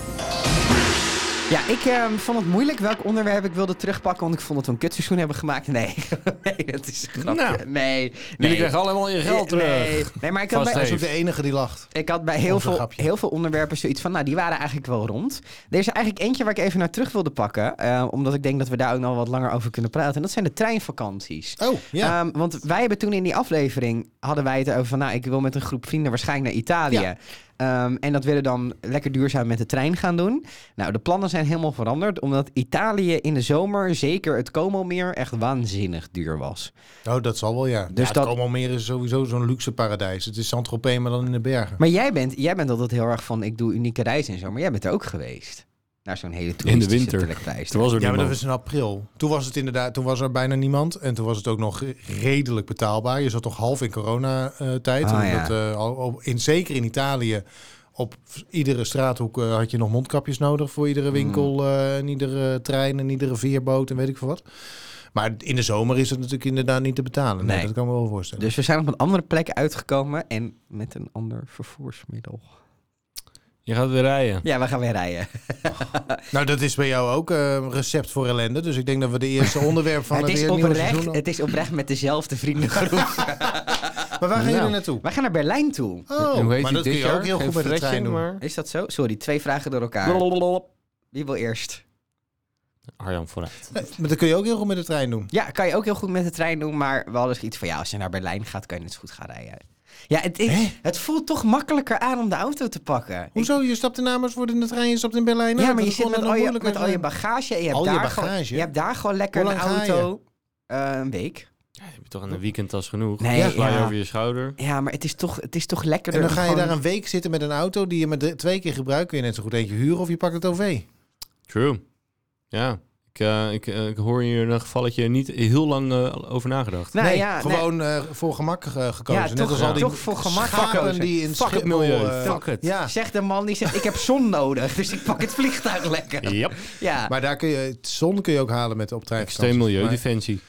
[SPEAKER 3] Ja, ik ehm, vond het moeilijk welk onderwerp ik wilde terugpakken. Want ik vond dat we een kutseizoen hebben gemaakt. Nee, nee dat is een grapje.
[SPEAKER 1] Nou.
[SPEAKER 3] nee,
[SPEAKER 1] Jullie
[SPEAKER 3] nee.
[SPEAKER 1] krijgen allemaal je geld terug.
[SPEAKER 3] Nee, nee maar ik had
[SPEAKER 1] Vast
[SPEAKER 3] bij,
[SPEAKER 2] Hij is ook de enige die lacht.
[SPEAKER 3] Ik had bij heel
[SPEAKER 2] Of een
[SPEAKER 3] veel,
[SPEAKER 2] grapje.
[SPEAKER 3] heel veel onderwerpen zoiets van, nou, die waren eigenlijk wel rond. Er is er eigenlijk eentje waar ik even naar terug wilde pakken, eh, omdat ik denk dat we daar ook nog wat langer over kunnen praten. En dat zijn de treinvakanties.
[SPEAKER 2] Oh, ja.
[SPEAKER 3] Ehm, want wij hebben toen in die aflevering, hadden wij het over van, nou, ik wil met een groep vrienden waarschijnlijk naar Italië.
[SPEAKER 2] Ja.
[SPEAKER 3] Ehm, en dat willen dan lekker duurzaam met de trein gaan doen. Nou, de plannen zijn helemaal veranderd, omdat Italië in de zomer, zeker het Como meer, echt waanzinnig duur was.
[SPEAKER 2] oh, dat zal wel, ja.
[SPEAKER 3] Dus
[SPEAKER 2] Dus ja,
[SPEAKER 3] dat-
[SPEAKER 2] dat... Almere is sowieso zo'n luxe paradijs. Het is Saint-Tropez, maar dan in de bergen.
[SPEAKER 3] Maar jij bent, jij bent altijd heel erg van, ik doe unieke reizen en zo. Maar jij bent er ook geweest. Naar zo'n hele toeristische
[SPEAKER 1] winter.
[SPEAKER 3] trekpleister.
[SPEAKER 1] Er was er
[SPEAKER 2] Ja, maar dat
[SPEAKER 1] niemand.
[SPEAKER 2] was in april. Toen was het inderdaad, toen was er bijna niemand. En toen was het ook nog redelijk betaalbaar. Je zat toch half in coronatijd. eh,
[SPEAKER 3] Ah, ja.
[SPEAKER 2] in, zeker in Italië. Op iedere straathoek eh, had je nog mondkapjes nodig voor
[SPEAKER 3] Mm.
[SPEAKER 2] iedere winkel, eh, en iedere trein en iedere veerboot en weet ik veel wat. Maar in de zomer is het natuurlijk inderdaad niet te betalen. Nee,
[SPEAKER 3] Nee.
[SPEAKER 2] dat kan ik me wel voorstellen.
[SPEAKER 3] Dus we zijn op een andere plek uitgekomen en met een ander vervoersmiddel.
[SPEAKER 1] Je gaat weer rijden.
[SPEAKER 3] Ja, we gaan weer rijden.
[SPEAKER 2] Nou, dat is bij jou ook eh, een recept voor ellende. Dus ik denk dat we de eerste onderwerp van het,
[SPEAKER 3] het, is
[SPEAKER 2] weer nieuwe
[SPEAKER 3] oprecht,
[SPEAKER 2] seizoen...
[SPEAKER 3] het is oprecht met dezelfde vriendengroep.
[SPEAKER 2] Maar waar gaan
[SPEAKER 1] Nou.
[SPEAKER 2] jullie naartoe?
[SPEAKER 3] Wij gaan naar Berlijn toe.
[SPEAKER 2] Oh,
[SPEAKER 1] Hoe heet die
[SPEAKER 2] maar dat kun
[SPEAKER 1] dit
[SPEAKER 2] je
[SPEAKER 1] jaar?
[SPEAKER 2] ook heel
[SPEAKER 1] Geen
[SPEAKER 2] goed met de
[SPEAKER 1] Fredje,
[SPEAKER 2] trein doen.
[SPEAKER 1] maar-
[SPEAKER 3] Is dat zo? Sorry, twee vragen door elkaar.
[SPEAKER 1] Blablabla.
[SPEAKER 3] Wie wil eerst?
[SPEAKER 1] Arjan vooruit.
[SPEAKER 2] Nee, Maar dat kun je ook heel goed met de trein doen.
[SPEAKER 3] Ja, kan je ook heel goed met de trein doen, maar we hadden iets van ja, als je naar Berlijn gaat, kan je net zo goed gaan rijden. Ja, het, het, het voelt toch makkelijker aan om de auto te pakken. Ik-
[SPEAKER 2] Hoezo? Je stapt in Amersfoort in de trein, je stapt in Berlijn.
[SPEAKER 3] Ja,
[SPEAKER 2] uit.
[SPEAKER 3] maar je
[SPEAKER 2] Dat
[SPEAKER 3] zit
[SPEAKER 2] kon
[SPEAKER 3] met
[SPEAKER 2] dan
[SPEAKER 3] al je,
[SPEAKER 2] moeilijk
[SPEAKER 3] met al je
[SPEAKER 2] zijn.
[SPEAKER 3] bagage en je hebt,
[SPEAKER 2] Al je
[SPEAKER 3] daar Gewoon,
[SPEAKER 2] bagage?
[SPEAKER 3] je hebt daar gewoon lekker
[SPEAKER 2] Hoe
[SPEAKER 3] een
[SPEAKER 2] lang ga
[SPEAKER 3] auto. eh, een week.
[SPEAKER 1] Ja, heb je toch aan een weekendtas genoeg?
[SPEAKER 3] Nee,
[SPEAKER 1] ja. Sla je
[SPEAKER 3] ja.
[SPEAKER 1] over je schouder.
[SPEAKER 3] Ja, maar het is toch, het is toch lekkerder.
[SPEAKER 2] En dan ga je
[SPEAKER 3] gewoon-
[SPEAKER 2] daar een week zitten met een auto die je maar drie- twee keer gebruikt. Kun je net zo goed eentje huren of je pakt het OV.
[SPEAKER 3] Nou
[SPEAKER 1] True. Ja. Ik, eh, ik, eh, ik hoor hier in een gevalletje niet heel lang eh, over nagedacht.
[SPEAKER 3] Nou
[SPEAKER 2] nee,
[SPEAKER 3] ja, nee.
[SPEAKER 2] gewoon eh, voor gemak eh, gekozen.
[SPEAKER 3] Ja,
[SPEAKER 2] net
[SPEAKER 3] toch-
[SPEAKER 2] als al die
[SPEAKER 3] toch voor gemak
[SPEAKER 2] schapen
[SPEAKER 3] gekozen.
[SPEAKER 2] die in
[SPEAKER 1] Fuck het
[SPEAKER 2] Schiphol,
[SPEAKER 1] milieu,
[SPEAKER 2] eh,
[SPEAKER 1] fuck het.
[SPEAKER 2] Ja,
[SPEAKER 3] Zegt de man die zegt: Ik heb zon nodig, dus ik pak het vliegtuig lekker.
[SPEAKER 1] Ja.
[SPEAKER 3] Ja,
[SPEAKER 2] maar daar kun je, het zon kun je ook halen met de ehm, optrein.
[SPEAKER 1] Extreem milieudefensie.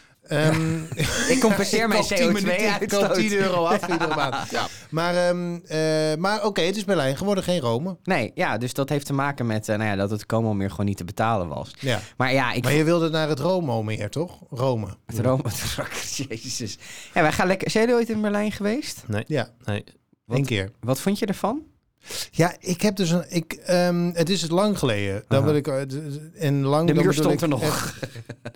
[SPEAKER 3] ik compenseer mijn
[SPEAKER 2] Ik koop 10
[SPEAKER 3] CO2-uitstoot.
[SPEAKER 2] euro af iedere maand. Ja. Maar, ehm, eh, maar oké, het is Berlijn geworden, geen Rome.
[SPEAKER 3] Nee, ja, dus dat heeft te maken met eh, nou ja, dat het Como meer gewoon niet te betalen was.
[SPEAKER 2] Ja.
[SPEAKER 3] Maar ja, ik
[SPEAKER 2] Maar je wilde naar het Romo meer, toch? Rome.
[SPEAKER 3] het Rome Jezus. Ja, wij gaan lekker. Zijn jullie ooit in Berlijn geweest?
[SPEAKER 2] Ja,
[SPEAKER 1] Nee.
[SPEAKER 2] één keer.
[SPEAKER 3] Wat vond je ervan?
[SPEAKER 2] Ja, ik heb dus een. Ik, ehm, het is het lang geleden. Dan
[SPEAKER 3] Aha.
[SPEAKER 2] wil ik, eh, d- d- en lang,
[SPEAKER 3] De
[SPEAKER 2] dan bedoel
[SPEAKER 3] muur stond
[SPEAKER 2] ik
[SPEAKER 3] er nog.
[SPEAKER 2] echt-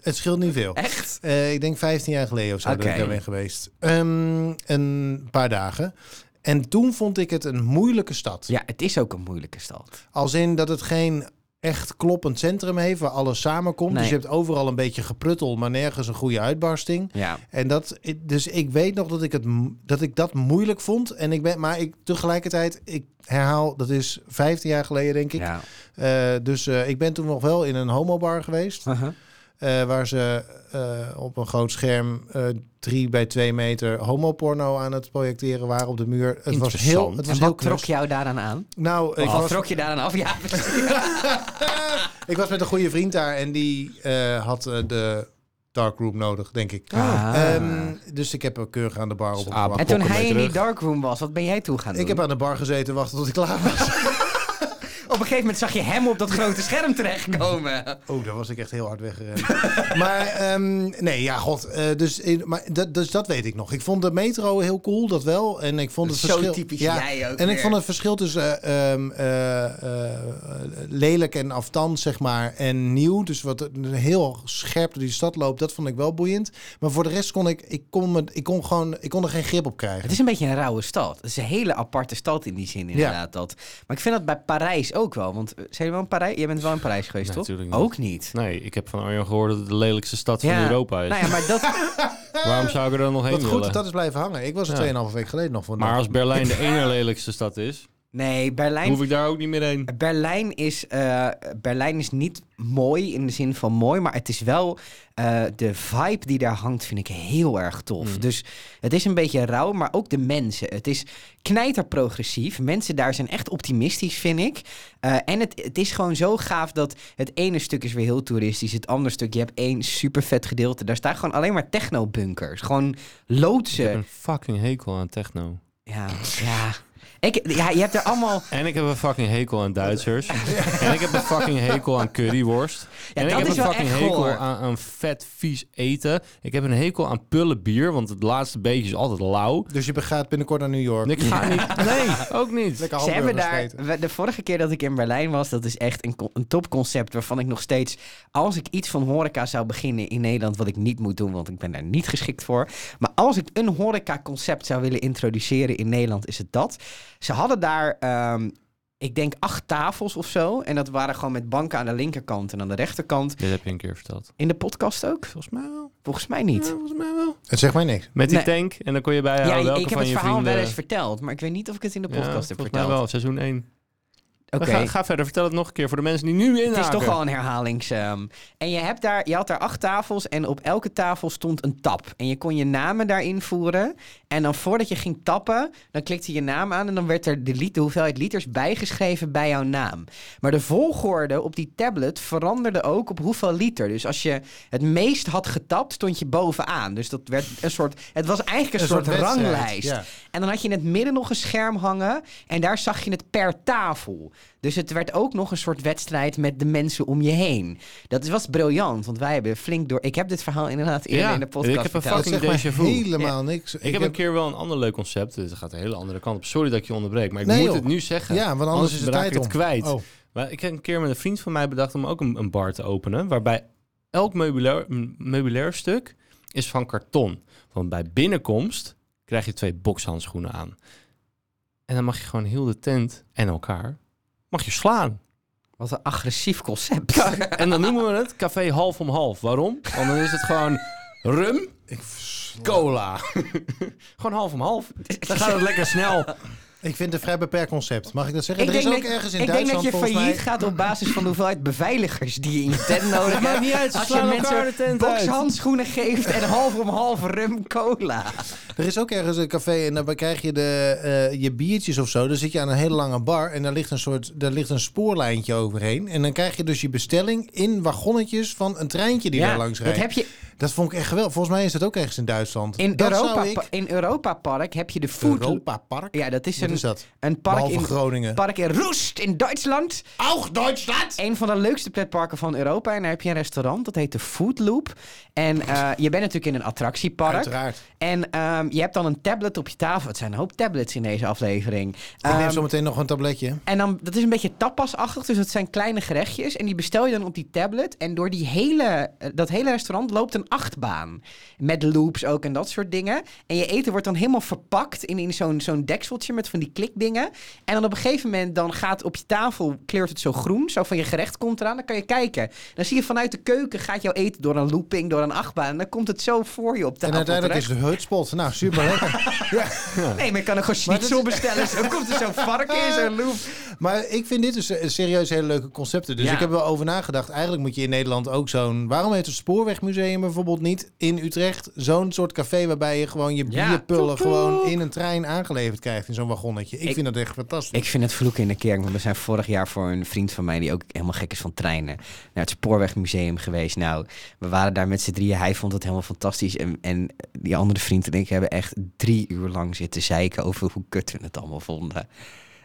[SPEAKER 2] het scheelt niet veel.
[SPEAKER 3] Echt?
[SPEAKER 2] Eh, ik denk 15 jaar geleden of zo dat
[SPEAKER 3] Oké.
[SPEAKER 2] ik daar ben geweest. Ehm, een paar dagen. En toen vond ik het een moeilijke stad.
[SPEAKER 3] Ja, het is ook een moeilijke stad.
[SPEAKER 2] Als in dat het geen echt kloppend centrum heeft waar alles samenkomt.
[SPEAKER 3] Nee.
[SPEAKER 2] Dus je hebt overal een beetje gepruttel, maar nergens een goede uitbarsting.
[SPEAKER 3] Ja.
[SPEAKER 2] En dat, dus ik weet nog dat ik, het, mo- dat ik dat moeilijk vond. En ik ben, maar ik, tegelijkertijd, ik herhaal, dat is 15 jaar geleden denk ik.
[SPEAKER 3] ja.
[SPEAKER 2] Eh, dus eh, ik ben toen nog wel in een homobar geweest.
[SPEAKER 3] Uh-huh.
[SPEAKER 2] eh, waar ze eh, op een groot scherm eh, drie bij twee meter homoporno aan het projecteren waren op de muur. Het was heel,
[SPEAKER 1] Interessant.
[SPEAKER 2] het was
[SPEAKER 3] En
[SPEAKER 2] heel
[SPEAKER 3] wat
[SPEAKER 2] knus.
[SPEAKER 3] trok jou daaraan aan?
[SPEAKER 2] Nou, ik,
[SPEAKER 3] Wat
[SPEAKER 2] was,
[SPEAKER 3] trok je daaraan af? Ja,
[SPEAKER 2] ik was met een goede vriend daar en die eh, had eh, de darkroom nodig, denk ik.
[SPEAKER 3] Ah. Dus
[SPEAKER 2] Ehm, dus ik heb er keurig aan de bar op.
[SPEAKER 1] apen.
[SPEAKER 3] en toen
[SPEAKER 1] Pokken
[SPEAKER 3] hij
[SPEAKER 1] mee
[SPEAKER 3] in die
[SPEAKER 1] terug.
[SPEAKER 3] darkroom was, wat ben jij toen gaan doen?
[SPEAKER 2] Ik heb aan de bar gezeten wachten tot ik klaar was.
[SPEAKER 3] Op een gegeven moment zag je hem op dat grote scherm terechtkomen.
[SPEAKER 2] Oh, daar was ik echt heel hard weggerend. maar ehm, nee, ja, god. eh, dus, in, maar dat, dus dat weet ik nog. Ik vond de metro heel cool, dat wel. En ik vond het
[SPEAKER 3] Zo
[SPEAKER 2] verschil...
[SPEAKER 3] typisch jij ook
[SPEAKER 2] En ik
[SPEAKER 3] weer.
[SPEAKER 2] vond het verschil tussen eh, ehm, eh, eh, lelijk en afstand, zeg maar, en nieuw. Dus wat heel scherp door die stad loopt, dat vond ik wel boeiend. Maar voor de rest kon ik, ik kon, me, ik kon, gewoon, ik kon er geen grip op krijgen.
[SPEAKER 3] Het is een beetje een rauwe stad. Het is een hele aparte stad in die zin, inderdaad. Dat. Maar ik vind dat bij Parijs ook wel. Want eh, zijn jullie wel in Parijs? Jij bent wel in Parijs geweest,
[SPEAKER 1] Nee,
[SPEAKER 3] toch?
[SPEAKER 1] natuurlijk niet.
[SPEAKER 3] Ook niet.
[SPEAKER 1] Nee, ik heb van Arjan gehoord dat het de lelijkste stad van Europa is.
[SPEAKER 3] Nou ja, maar dat,
[SPEAKER 1] Waarom zou ik er dan nog heen
[SPEAKER 2] Wat goed
[SPEAKER 1] willen?
[SPEAKER 2] dat dat is blijven hangen. Ik was er
[SPEAKER 1] Ja.
[SPEAKER 2] 2,5 week geleden nog voor.
[SPEAKER 1] Maar als Berlijn de ene lelijkste stad is,
[SPEAKER 3] Nee, Berlijn
[SPEAKER 1] hoef ik daar ook niet meer heen.
[SPEAKER 3] Berlijn is, eh, Berlijn is niet mooi in de zin van mooi, maar het is wel eh, de vibe die daar hangt, vind ik heel erg tof. Dus het is een beetje rauw, maar ook de mensen. Het is knijterprogressief. Mensen daar zijn echt optimistisch, vind ik. Eh, en het, het is gewoon zo gaaf dat het ene stuk is weer heel toeristisch, het andere stuk, je hebt één super vet gedeelte. Daar staan gewoon alleen maar technobunkers, gewoon
[SPEAKER 1] Ik heb
[SPEAKER 3] loodsen.
[SPEAKER 1] een fucking hekel aan techno.
[SPEAKER 3] Ja, ja. Ik, ja, je hebt er allemaal...
[SPEAKER 1] En ik heb een fucking hekel aan Duitsers. En ik heb een fucking hekel aan curryworst. en ik
[SPEAKER 3] dat
[SPEAKER 1] heb
[SPEAKER 3] is
[SPEAKER 1] een
[SPEAKER 3] wel
[SPEAKER 1] fucking
[SPEAKER 3] echt
[SPEAKER 1] hekel
[SPEAKER 3] goor.
[SPEAKER 1] aan, aan vet, vies eten. Ik heb een hekel aan pullen bier, want het laatste beetje is altijd lauw.
[SPEAKER 2] Dus je gaat binnenkort naar New York.
[SPEAKER 1] En ik ga niet... Nee, ook niet.
[SPEAKER 2] Lekker
[SPEAKER 3] Ze hebben
[SPEAKER 2] hamburgers
[SPEAKER 3] daar,
[SPEAKER 2] eten.
[SPEAKER 3] we- de vorige keer dat ik in Berlijn was, dat is echt een, co- een topconcept waarvan ik nog steeds, als ik iets van horeca zou beginnen in Nederland, wat ik niet moet doen, want ik ben daar niet geschikt voor. Maar als ik een horeca-concept zou willen introduceren in Nederland, is het dat. Ze hadden daar, ehm, ik denk, acht tafels of zo. En dat waren gewoon met banken aan de linkerkant en aan de rechterkant.
[SPEAKER 1] Dit heb je een keer verteld.
[SPEAKER 3] In de podcast ook?
[SPEAKER 1] Volgens mij wel.
[SPEAKER 3] Volgens mij niet.
[SPEAKER 1] volgens mij wel.
[SPEAKER 2] Het zegt mij niks.
[SPEAKER 1] Met die
[SPEAKER 3] Nee.
[SPEAKER 1] tank. En dan kon je bij
[SPEAKER 3] Ja,
[SPEAKER 1] welke
[SPEAKER 3] ik heb
[SPEAKER 1] van
[SPEAKER 3] het
[SPEAKER 1] je
[SPEAKER 3] verhaal
[SPEAKER 1] vrienden...
[SPEAKER 3] wel eens verteld, maar ik weet niet of ik het in de
[SPEAKER 1] Ja,
[SPEAKER 3] podcast heb
[SPEAKER 1] volgens mij
[SPEAKER 3] verteld.
[SPEAKER 1] wel, seizoen 1.
[SPEAKER 3] Oké.
[SPEAKER 1] Ga, ga verder, vertel het nog een keer voor de mensen die nu inhaken.
[SPEAKER 3] Het is toch wel een herhalings... ehm. en je, hebt daar, je had daar acht tafels en op elke tafel stond een tap. En je kon je namen daarin voeren. En dan voordat je ging tappen, dan klikte je je naam aan... en dan werd er de, lied, de hoeveelheid liters bijgeschreven bij jouw naam. Maar de volgorde op die tablet veranderde ook op hoeveel liter. Dus als je het meest had getapt, stond je bovenaan. Dus dat werd een soort... Het was eigenlijk een,
[SPEAKER 2] Een
[SPEAKER 3] soort,
[SPEAKER 2] soort wedstrijd,
[SPEAKER 3] ranglijst.
[SPEAKER 2] ja.
[SPEAKER 3] En dan had je in het midden nog een scherm hangen. En daar zag je het per tafel. Dus het werd ook nog een soort wedstrijd met de mensen om je heen. Dat was briljant, want wij hebben flink door... Ik heb dit verhaal inderdaad eerder
[SPEAKER 1] Ja,
[SPEAKER 3] in de podcast
[SPEAKER 1] ik heb een
[SPEAKER 3] verteld.
[SPEAKER 2] Dat
[SPEAKER 1] Fucking
[SPEAKER 2] zegt mij
[SPEAKER 1] déjà vu.
[SPEAKER 2] helemaal niks.
[SPEAKER 1] Ik, heb een keer wel een ander leuk concept. Dit gaat een hele andere kant op. Sorry dat ik je onderbreek, maar ik
[SPEAKER 2] Nee,
[SPEAKER 1] moet
[SPEAKER 2] joh.
[SPEAKER 1] het nu zeggen.
[SPEAKER 2] Ja, want anders is de
[SPEAKER 1] raak
[SPEAKER 2] tijd
[SPEAKER 1] ik het
[SPEAKER 2] om.
[SPEAKER 1] kwijt.
[SPEAKER 2] Oh.
[SPEAKER 1] Maar ik heb een keer met een vriend van mij bedacht om ook een, een bar te openen. Waarbij elk meubilair, m- meubilair stuk is van karton. Want bij binnenkomst krijg je twee bokshandschoenen aan. En dan mag je gewoon heel de tent en elkaar mag je slaan.
[SPEAKER 3] Wat een agressief concept.
[SPEAKER 1] En dan noemen we het café half om half. Waarom? Want dan is het gewoon rum, cola. gewoon half om half. Dan gaat het lekker snel.
[SPEAKER 2] Ik vind het een vrij beperkt concept. Mag ik dat zeggen?
[SPEAKER 3] Ik
[SPEAKER 2] er is
[SPEAKER 3] denk,
[SPEAKER 2] ook
[SPEAKER 3] dat,
[SPEAKER 2] ergens in
[SPEAKER 3] ik denk dat
[SPEAKER 2] Duitsland
[SPEAKER 3] je failliet
[SPEAKER 2] volgens mij-
[SPEAKER 3] gaat op basis van de hoeveelheid beveiligers die je in je tent nodig hebt.
[SPEAKER 1] niet uit, ze
[SPEAKER 3] Als je
[SPEAKER 1] slaan elkaar de
[SPEAKER 3] mensen
[SPEAKER 1] tent uit.
[SPEAKER 3] bokshandschoenen geeft en half om half rum cola.
[SPEAKER 2] Er is ook ergens een café en dan krijg je de, eh, je biertjes of zo. Dan zit je aan een hele lange bar en daar ligt een soort daar ligt een spoorlijntje overheen. En dan krijg je dus je bestelling in wagonnetjes van een treintje die daar langs
[SPEAKER 3] dat
[SPEAKER 2] rijdt.
[SPEAKER 3] heb je
[SPEAKER 2] Dat vond ik echt geweldig. Volgens mij is dat ook ergens in Duitsland.
[SPEAKER 3] in
[SPEAKER 2] dat
[SPEAKER 3] Europa,
[SPEAKER 2] zou ik...
[SPEAKER 3] in Europa Park heb je de food.
[SPEAKER 2] Europa Park?
[SPEAKER 3] Ja, dat is
[SPEAKER 2] Wat
[SPEAKER 3] een,
[SPEAKER 2] is dat?
[SPEAKER 3] een park,
[SPEAKER 2] Behalve
[SPEAKER 3] in,
[SPEAKER 2] Groningen.
[SPEAKER 3] park in Roest in Duitsland.
[SPEAKER 2] Auch Duitsland!
[SPEAKER 3] Een van de leukste pretparken van Europa. En daar heb je een restaurant, dat heet de Food Loop. En eh, je bent natuurlijk in een attractiepark.
[SPEAKER 2] Uiteraard.
[SPEAKER 3] En ehm, je hebt dan een tablet op je tafel. Het zijn een hoop tablets in deze aflevering.
[SPEAKER 2] Ik neem
[SPEAKER 3] Ehm,
[SPEAKER 2] zo meteen nog een tabletje.
[SPEAKER 3] en dan, dat is een beetje tapasachtig, dus dat zijn kleine gerechtjes. En die bestel je dan op die tablet. En door die hele, eh, dat hele restaurant loopt een achtbaan. Met loops ook en dat soort dingen. En je eten wordt dan helemaal verpakt in, in zo'n zo'n dekseltje met van die klikdingen. En dan op een gegeven moment dan gaat op je tafel, kleurt het zo groen. Zo van je gerecht komt eraan, dan kan je kijken. Dan zie je vanuit de keuken gaat jouw eten door een looping, door een achtbaan. En dan komt het zo voor je op de
[SPEAKER 2] En
[SPEAKER 3] appel
[SPEAKER 2] uiteindelijk is
[SPEAKER 3] terecht.
[SPEAKER 2] de hutspot. Nou, super lekker.
[SPEAKER 3] Nee, maar je kan er gewoon schnitzel bestellen. Zo komt er zo'n varken in zo'n loop.
[SPEAKER 2] Maar ik vind dit dus eh, serieus hele leuke concepten. Dus
[SPEAKER 3] Ja.
[SPEAKER 2] ik heb er wel over nagedacht. Eigenlijk moet je in Nederland ook zo'n... Waarom heeft het Spoorwegmuseum bijvoorbeeld niet in Utrecht... zo'n soort café waarbij je gewoon je
[SPEAKER 3] Ja.
[SPEAKER 2] bierpullen...
[SPEAKER 3] Toet, toet.
[SPEAKER 2] gewoon in een trein aangeleverd krijgt in zo'n wagonnetje. Ik,
[SPEAKER 3] Ik-
[SPEAKER 2] vind dat echt fantastisch.
[SPEAKER 3] Ik vind het vloeken in de kerk, want we zijn vorig jaar voor een vriend van mij die ook helemaal gek is van treinen naar het Spoorwegmuseum geweest. Nou, we waren daar met z'n drieën. Hij vond het helemaal fantastisch. En, en die andere vriend en ik hebben echt drie uur lang zitten zeiken over hoe kut we het allemaal vonden.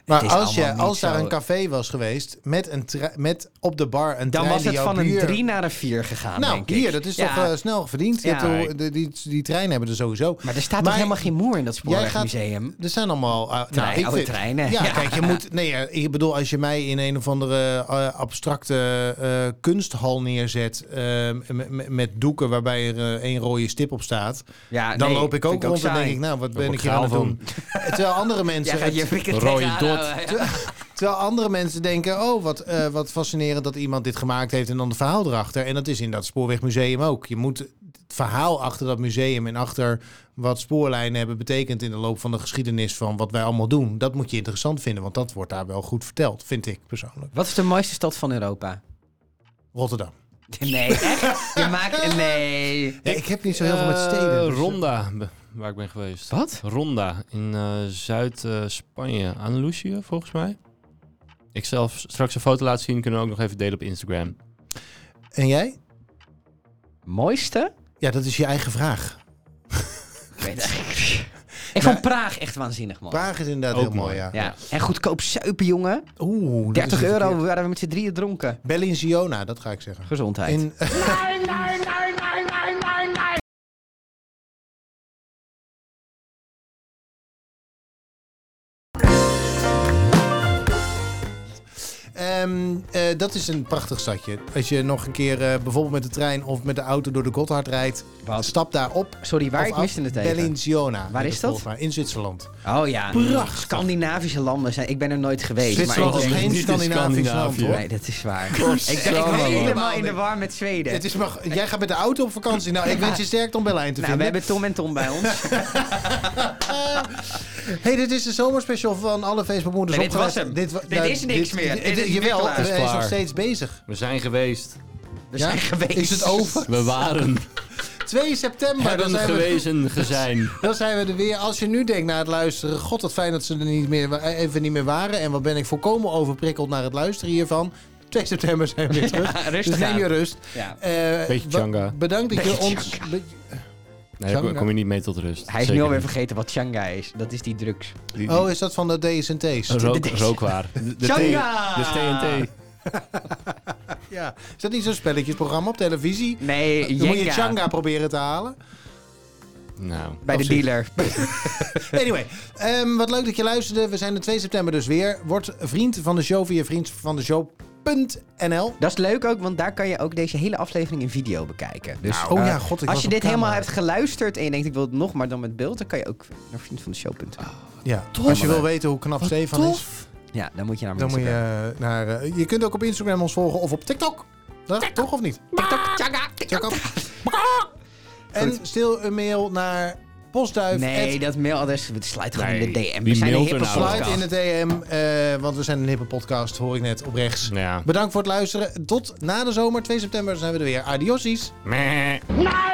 [SPEAKER 2] maar
[SPEAKER 3] is
[SPEAKER 2] als, je,
[SPEAKER 3] allemaal niet
[SPEAKER 2] als daar
[SPEAKER 3] zo-
[SPEAKER 2] een café was geweest met, een tre- met op de bar een
[SPEAKER 3] Dan
[SPEAKER 2] trein
[SPEAKER 3] was
[SPEAKER 2] die
[SPEAKER 3] het
[SPEAKER 2] jouw
[SPEAKER 3] van een
[SPEAKER 2] bier-
[SPEAKER 3] drie naar een vier gegaan.
[SPEAKER 2] Nou,
[SPEAKER 3] denk ik.
[SPEAKER 2] hier, dat is toch
[SPEAKER 3] Ja,
[SPEAKER 2] eh, snel verdiend. Je
[SPEAKER 3] Ja.
[SPEAKER 2] hebt toch- de- die, die treinen hebben er sowieso.
[SPEAKER 3] maar er staat
[SPEAKER 2] Maar
[SPEAKER 3] toch helemaal geen moer in dat
[SPEAKER 2] Jij gaat-
[SPEAKER 3] Spoorwegmuseum?
[SPEAKER 2] Er zijn allemaal... eh,
[SPEAKER 3] Trein- oude treinen.
[SPEAKER 2] Ja,
[SPEAKER 3] Ja.
[SPEAKER 2] kijk, je moet... Nee, ja, ik bedoel, als je mij in een of andere eh, abstracte eh, kunsthal neerzet... eh, m- m- met doeken waarbij er eh, één rode stip op staat...
[SPEAKER 3] Ja,
[SPEAKER 2] dan
[SPEAKER 3] nee,
[SPEAKER 2] loop ik
[SPEAKER 3] vind
[SPEAKER 2] ook rond en
[SPEAKER 3] saai.
[SPEAKER 2] denk ik, nou, wat ben
[SPEAKER 1] word
[SPEAKER 2] ik hier
[SPEAKER 1] gaal
[SPEAKER 2] aan het
[SPEAKER 1] van.
[SPEAKER 2] doen? Terwijl andere
[SPEAKER 3] Jij
[SPEAKER 2] mensen...
[SPEAKER 3] gaat je flikker
[SPEAKER 1] Rode
[SPEAKER 3] tegenaan
[SPEAKER 1] dot.
[SPEAKER 3] houden.
[SPEAKER 2] Terwijl andere mensen denken, oh, wat, eh, wat fascinerend dat iemand dit gemaakt heeft en dan de verhaal erachter. En dat is in dat spoorwegmuseum ook. Je moet verhaal achter dat museum en achter wat spoorlijnen hebben betekend in de loop van de geschiedenis van wat wij allemaal doen, dat moet je interessant vinden, want dat wordt daar wel goed verteld, vind ik persoonlijk.
[SPEAKER 3] Wat is de mooiste stad van Europa?
[SPEAKER 2] Rotterdam.
[SPEAKER 3] Nee, echt? Je maakt... Nee.
[SPEAKER 2] Ja, ik heb niet zo heel veel met steden.
[SPEAKER 1] Eh,
[SPEAKER 2] dus-
[SPEAKER 1] Ronda, b- waar ik ben geweest.
[SPEAKER 3] Wat?
[SPEAKER 1] Ronda in eh, Zuid-Spanje. Andalusië, volgens mij. Ik zelf s- straks een foto laten zien. Kunnen we ook nog even delen op Instagram.
[SPEAKER 2] En jij?
[SPEAKER 3] Mooiste?
[SPEAKER 2] Ja, dat is je eigen vraag.
[SPEAKER 3] Ik weet het eigenlijk niet. Ik vond Praag echt waanzinnig, man.
[SPEAKER 2] Praag is inderdaad
[SPEAKER 1] Ook
[SPEAKER 2] heel mooi,
[SPEAKER 1] mooi.
[SPEAKER 2] ja.
[SPEAKER 3] Ja. En goedkoop suipen, jongen.
[SPEAKER 2] Oeh, dat
[SPEAKER 3] 30
[SPEAKER 2] is een
[SPEAKER 3] euro
[SPEAKER 2] verkeer.
[SPEAKER 3] waren we met z'n drieën dronken.
[SPEAKER 2] Bellinziona, dat ga ik zeggen.
[SPEAKER 3] Gezondheid.
[SPEAKER 2] In, eh,
[SPEAKER 4] Nein, nein, nein, nein, nein, nein, nein.
[SPEAKER 2] Ehm, eh, dat is een prachtig stadje. Als je nog een keer eh, bijvoorbeeld met de trein of met de auto door de Gotthard rijdt,
[SPEAKER 3] Wat?
[SPEAKER 2] stap daar op.
[SPEAKER 3] Sorry, waar?
[SPEAKER 2] of
[SPEAKER 3] Ik
[SPEAKER 2] af.
[SPEAKER 3] miste het even.
[SPEAKER 2] Bellinziona.
[SPEAKER 3] Waar
[SPEAKER 2] heet
[SPEAKER 3] is
[SPEAKER 2] het
[SPEAKER 3] dat?
[SPEAKER 2] volgens mij, In Zwitserland.
[SPEAKER 3] Oh ja.
[SPEAKER 2] Prachtig.
[SPEAKER 3] Scandinavische landen zijn... Ik ben er nooit geweest.
[SPEAKER 2] Zwitserland
[SPEAKER 3] maar
[SPEAKER 2] is
[SPEAKER 3] ik denk-
[SPEAKER 2] geen
[SPEAKER 1] niet in
[SPEAKER 2] Scandinavisch land,
[SPEAKER 1] Scandinavië.
[SPEAKER 2] hoor.
[SPEAKER 3] Nee, dat is waar. ik ben
[SPEAKER 2] Godsamme, man.
[SPEAKER 3] helemaal in de war met Zweden.
[SPEAKER 2] Het is maar, jij gaat met de auto op vakantie. Nou, ik wens je sterkte om Berlijn te
[SPEAKER 3] nou, we
[SPEAKER 2] vinden.
[SPEAKER 3] hebben Tom en Tom bij ons.
[SPEAKER 2] Hey, dit is de zomerspecial van alle Facebookmoeders
[SPEAKER 3] Nee, dit
[SPEAKER 2] opgelet.
[SPEAKER 3] was hem. Dit
[SPEAKER 2] nou,
[SPEAKER 3] is niks meer. Dit is nu
[SPEAKER 2] jawel,
[SPEAKER 3] klaar.
[SPEAKER 2] hij
[SPEAKER 1] Het is
[SPEAKER 2] is nog
[SPEAKER 1] klaar.
[SPEAKER 2] steeds bezig.
[SPEAKER 1] We zijn geweest.
[SPEAKER 3] We zijn geweest.
[SPEAKER 2] Is het over?
[SPEAKER 1] We waren.
[SPEAKER 2] 2 september. Dan
[SPEAKER 1] hebben
[SPEAKER 2] zijn, we,
[SPEAKER 1] gewezen, gezijn.
[SPEAKER 2] dan zijn we er weer. Als je nu denkt na het luisteren... God, wat fijn dat ze er niet meer, wa- eh, even niet meer waren. En wat ben ik volkomen overprikkeld naar het luisteren hiervan. 2 september zijn we weer terug.
[SPEAKER 3] rustig
[SPEAKER 2] dus neem je
[SPEAKER 3] aan.
[SPEAKER 2] rust.
[SPEAKER 3] Ja.
[SPEAKER 2] Eh,
[SPEAKER 1] Beetje
[SPEAKER 2] wa-
[SPEAKER 1] Changa.
[SPEAKER 2] Bedankt dat je
[SPEAKER 3] Beetje
[SPEAKER 2] ons... be-
[SPEAKER 1] Nee, daar
[SPEAKER 2] Changa.
[SPEAKER 1] kom- kom je niet mee tot rust.
[SPEAKER 3] Hij is nu
[SPEAKER 1] Zeker
[SPEAKER 3] alweer
[SPEAKER 1] niet.
[SPEAKER 3] vergeten wat Changa is. Dat is die drugs.
[SPEAKER 1] Die- die-
[SPEAKER 2] Oh, is dat van de DSNT's?
[SPEAKER 1] rook,
[SPEAKER 3] de- de-
[SPEAKER 1] rookwaar. De, de,
[SPEAKER 3] Changa!
[SPEAKER 1] T- de TNT.
[SPEAKER 2] Ja. Is dat niet zo'n spelletjesprogramma op televisie?
[SPEAKER 3] Nee,
[SPEAKER 2] Dan moet je
[SPEAKER 3] Jenga.
[SPEAKER 2] Changa proberen te halen.
[SPEAKER 1] Nou,
[SPEAKER 3] Bij de
[SPEAKER 2] Of zoiets.
[SPEAKER 3] dealer.
[SPEAKER 2] Anyway, ehm, wat leuk dat je luisterde. We zijn de 2 september dus weer. Word vriend van de show via vriendvandeshow.nl.
[SPEAKER 3] Dat is leuk ook, want daar kan je ook deze hele aflevering in video bekijken. Dus,
[SPEAKER 2] Nou, oh
[SPEAKER 3] eh,
[SPEAKER 2] ja, god, ik
[SPEAKER 3] als
[SPEAKER 2] was
[SPEAKER 3] je
[SPEAKER 2] op
[SPEAKER 3] dit helemaal
[SPEAKER 2] camera.
[SPEAKER 3] hebt geluisterd en je denkt ik wil het nog maar dan met beeld, dan kan je ook naar vriendvandeshow.nl.
[SPEAKER 2] Ah. Ja. Als je wil weten hoe knap Stefan is,
[SPEAKER 3] Ja, dan moet je naar
[SPEAKER 2] dan moet
[SPEAKER 3] Instagram.
[SPEAKER 2] je naar... eh, je kunt ook op Instagram ons volgen of op TikTok. Ja, Toch of niet?
[SPEAKER 3] TikTok, Changa, TikTok.
[SPEAKER 2] eh, TikTok. En stil een mail naar postduif.
[SPEAKER 3] Nee, dat mailadres sluit gewoon in de
[SPEAKER 1] Nee,
[SPEAKER 3] DM. We
[SPEAKER 1] wie
[SPEAKER 3] zijn een
[SPEAKER 1] mailt er
[SPEAKER 3] hippe
[SPEAKER 1] nou?
[SPEAKER 2] Slide
[SPEAKER 3] podcast.
[SPEAKER 2] in de DM, eh, want we zijn een hippe podcast, hoor ik net op rechts.
[SPEAKER 1] Ja.
[SPEAKER 2] Bedankt voor het luisteren. Tot na de zomer, 2 september zijn we er weer. Adiosies.
[SPEAKER 1] Meh.
[SPEAKER 4] Nein,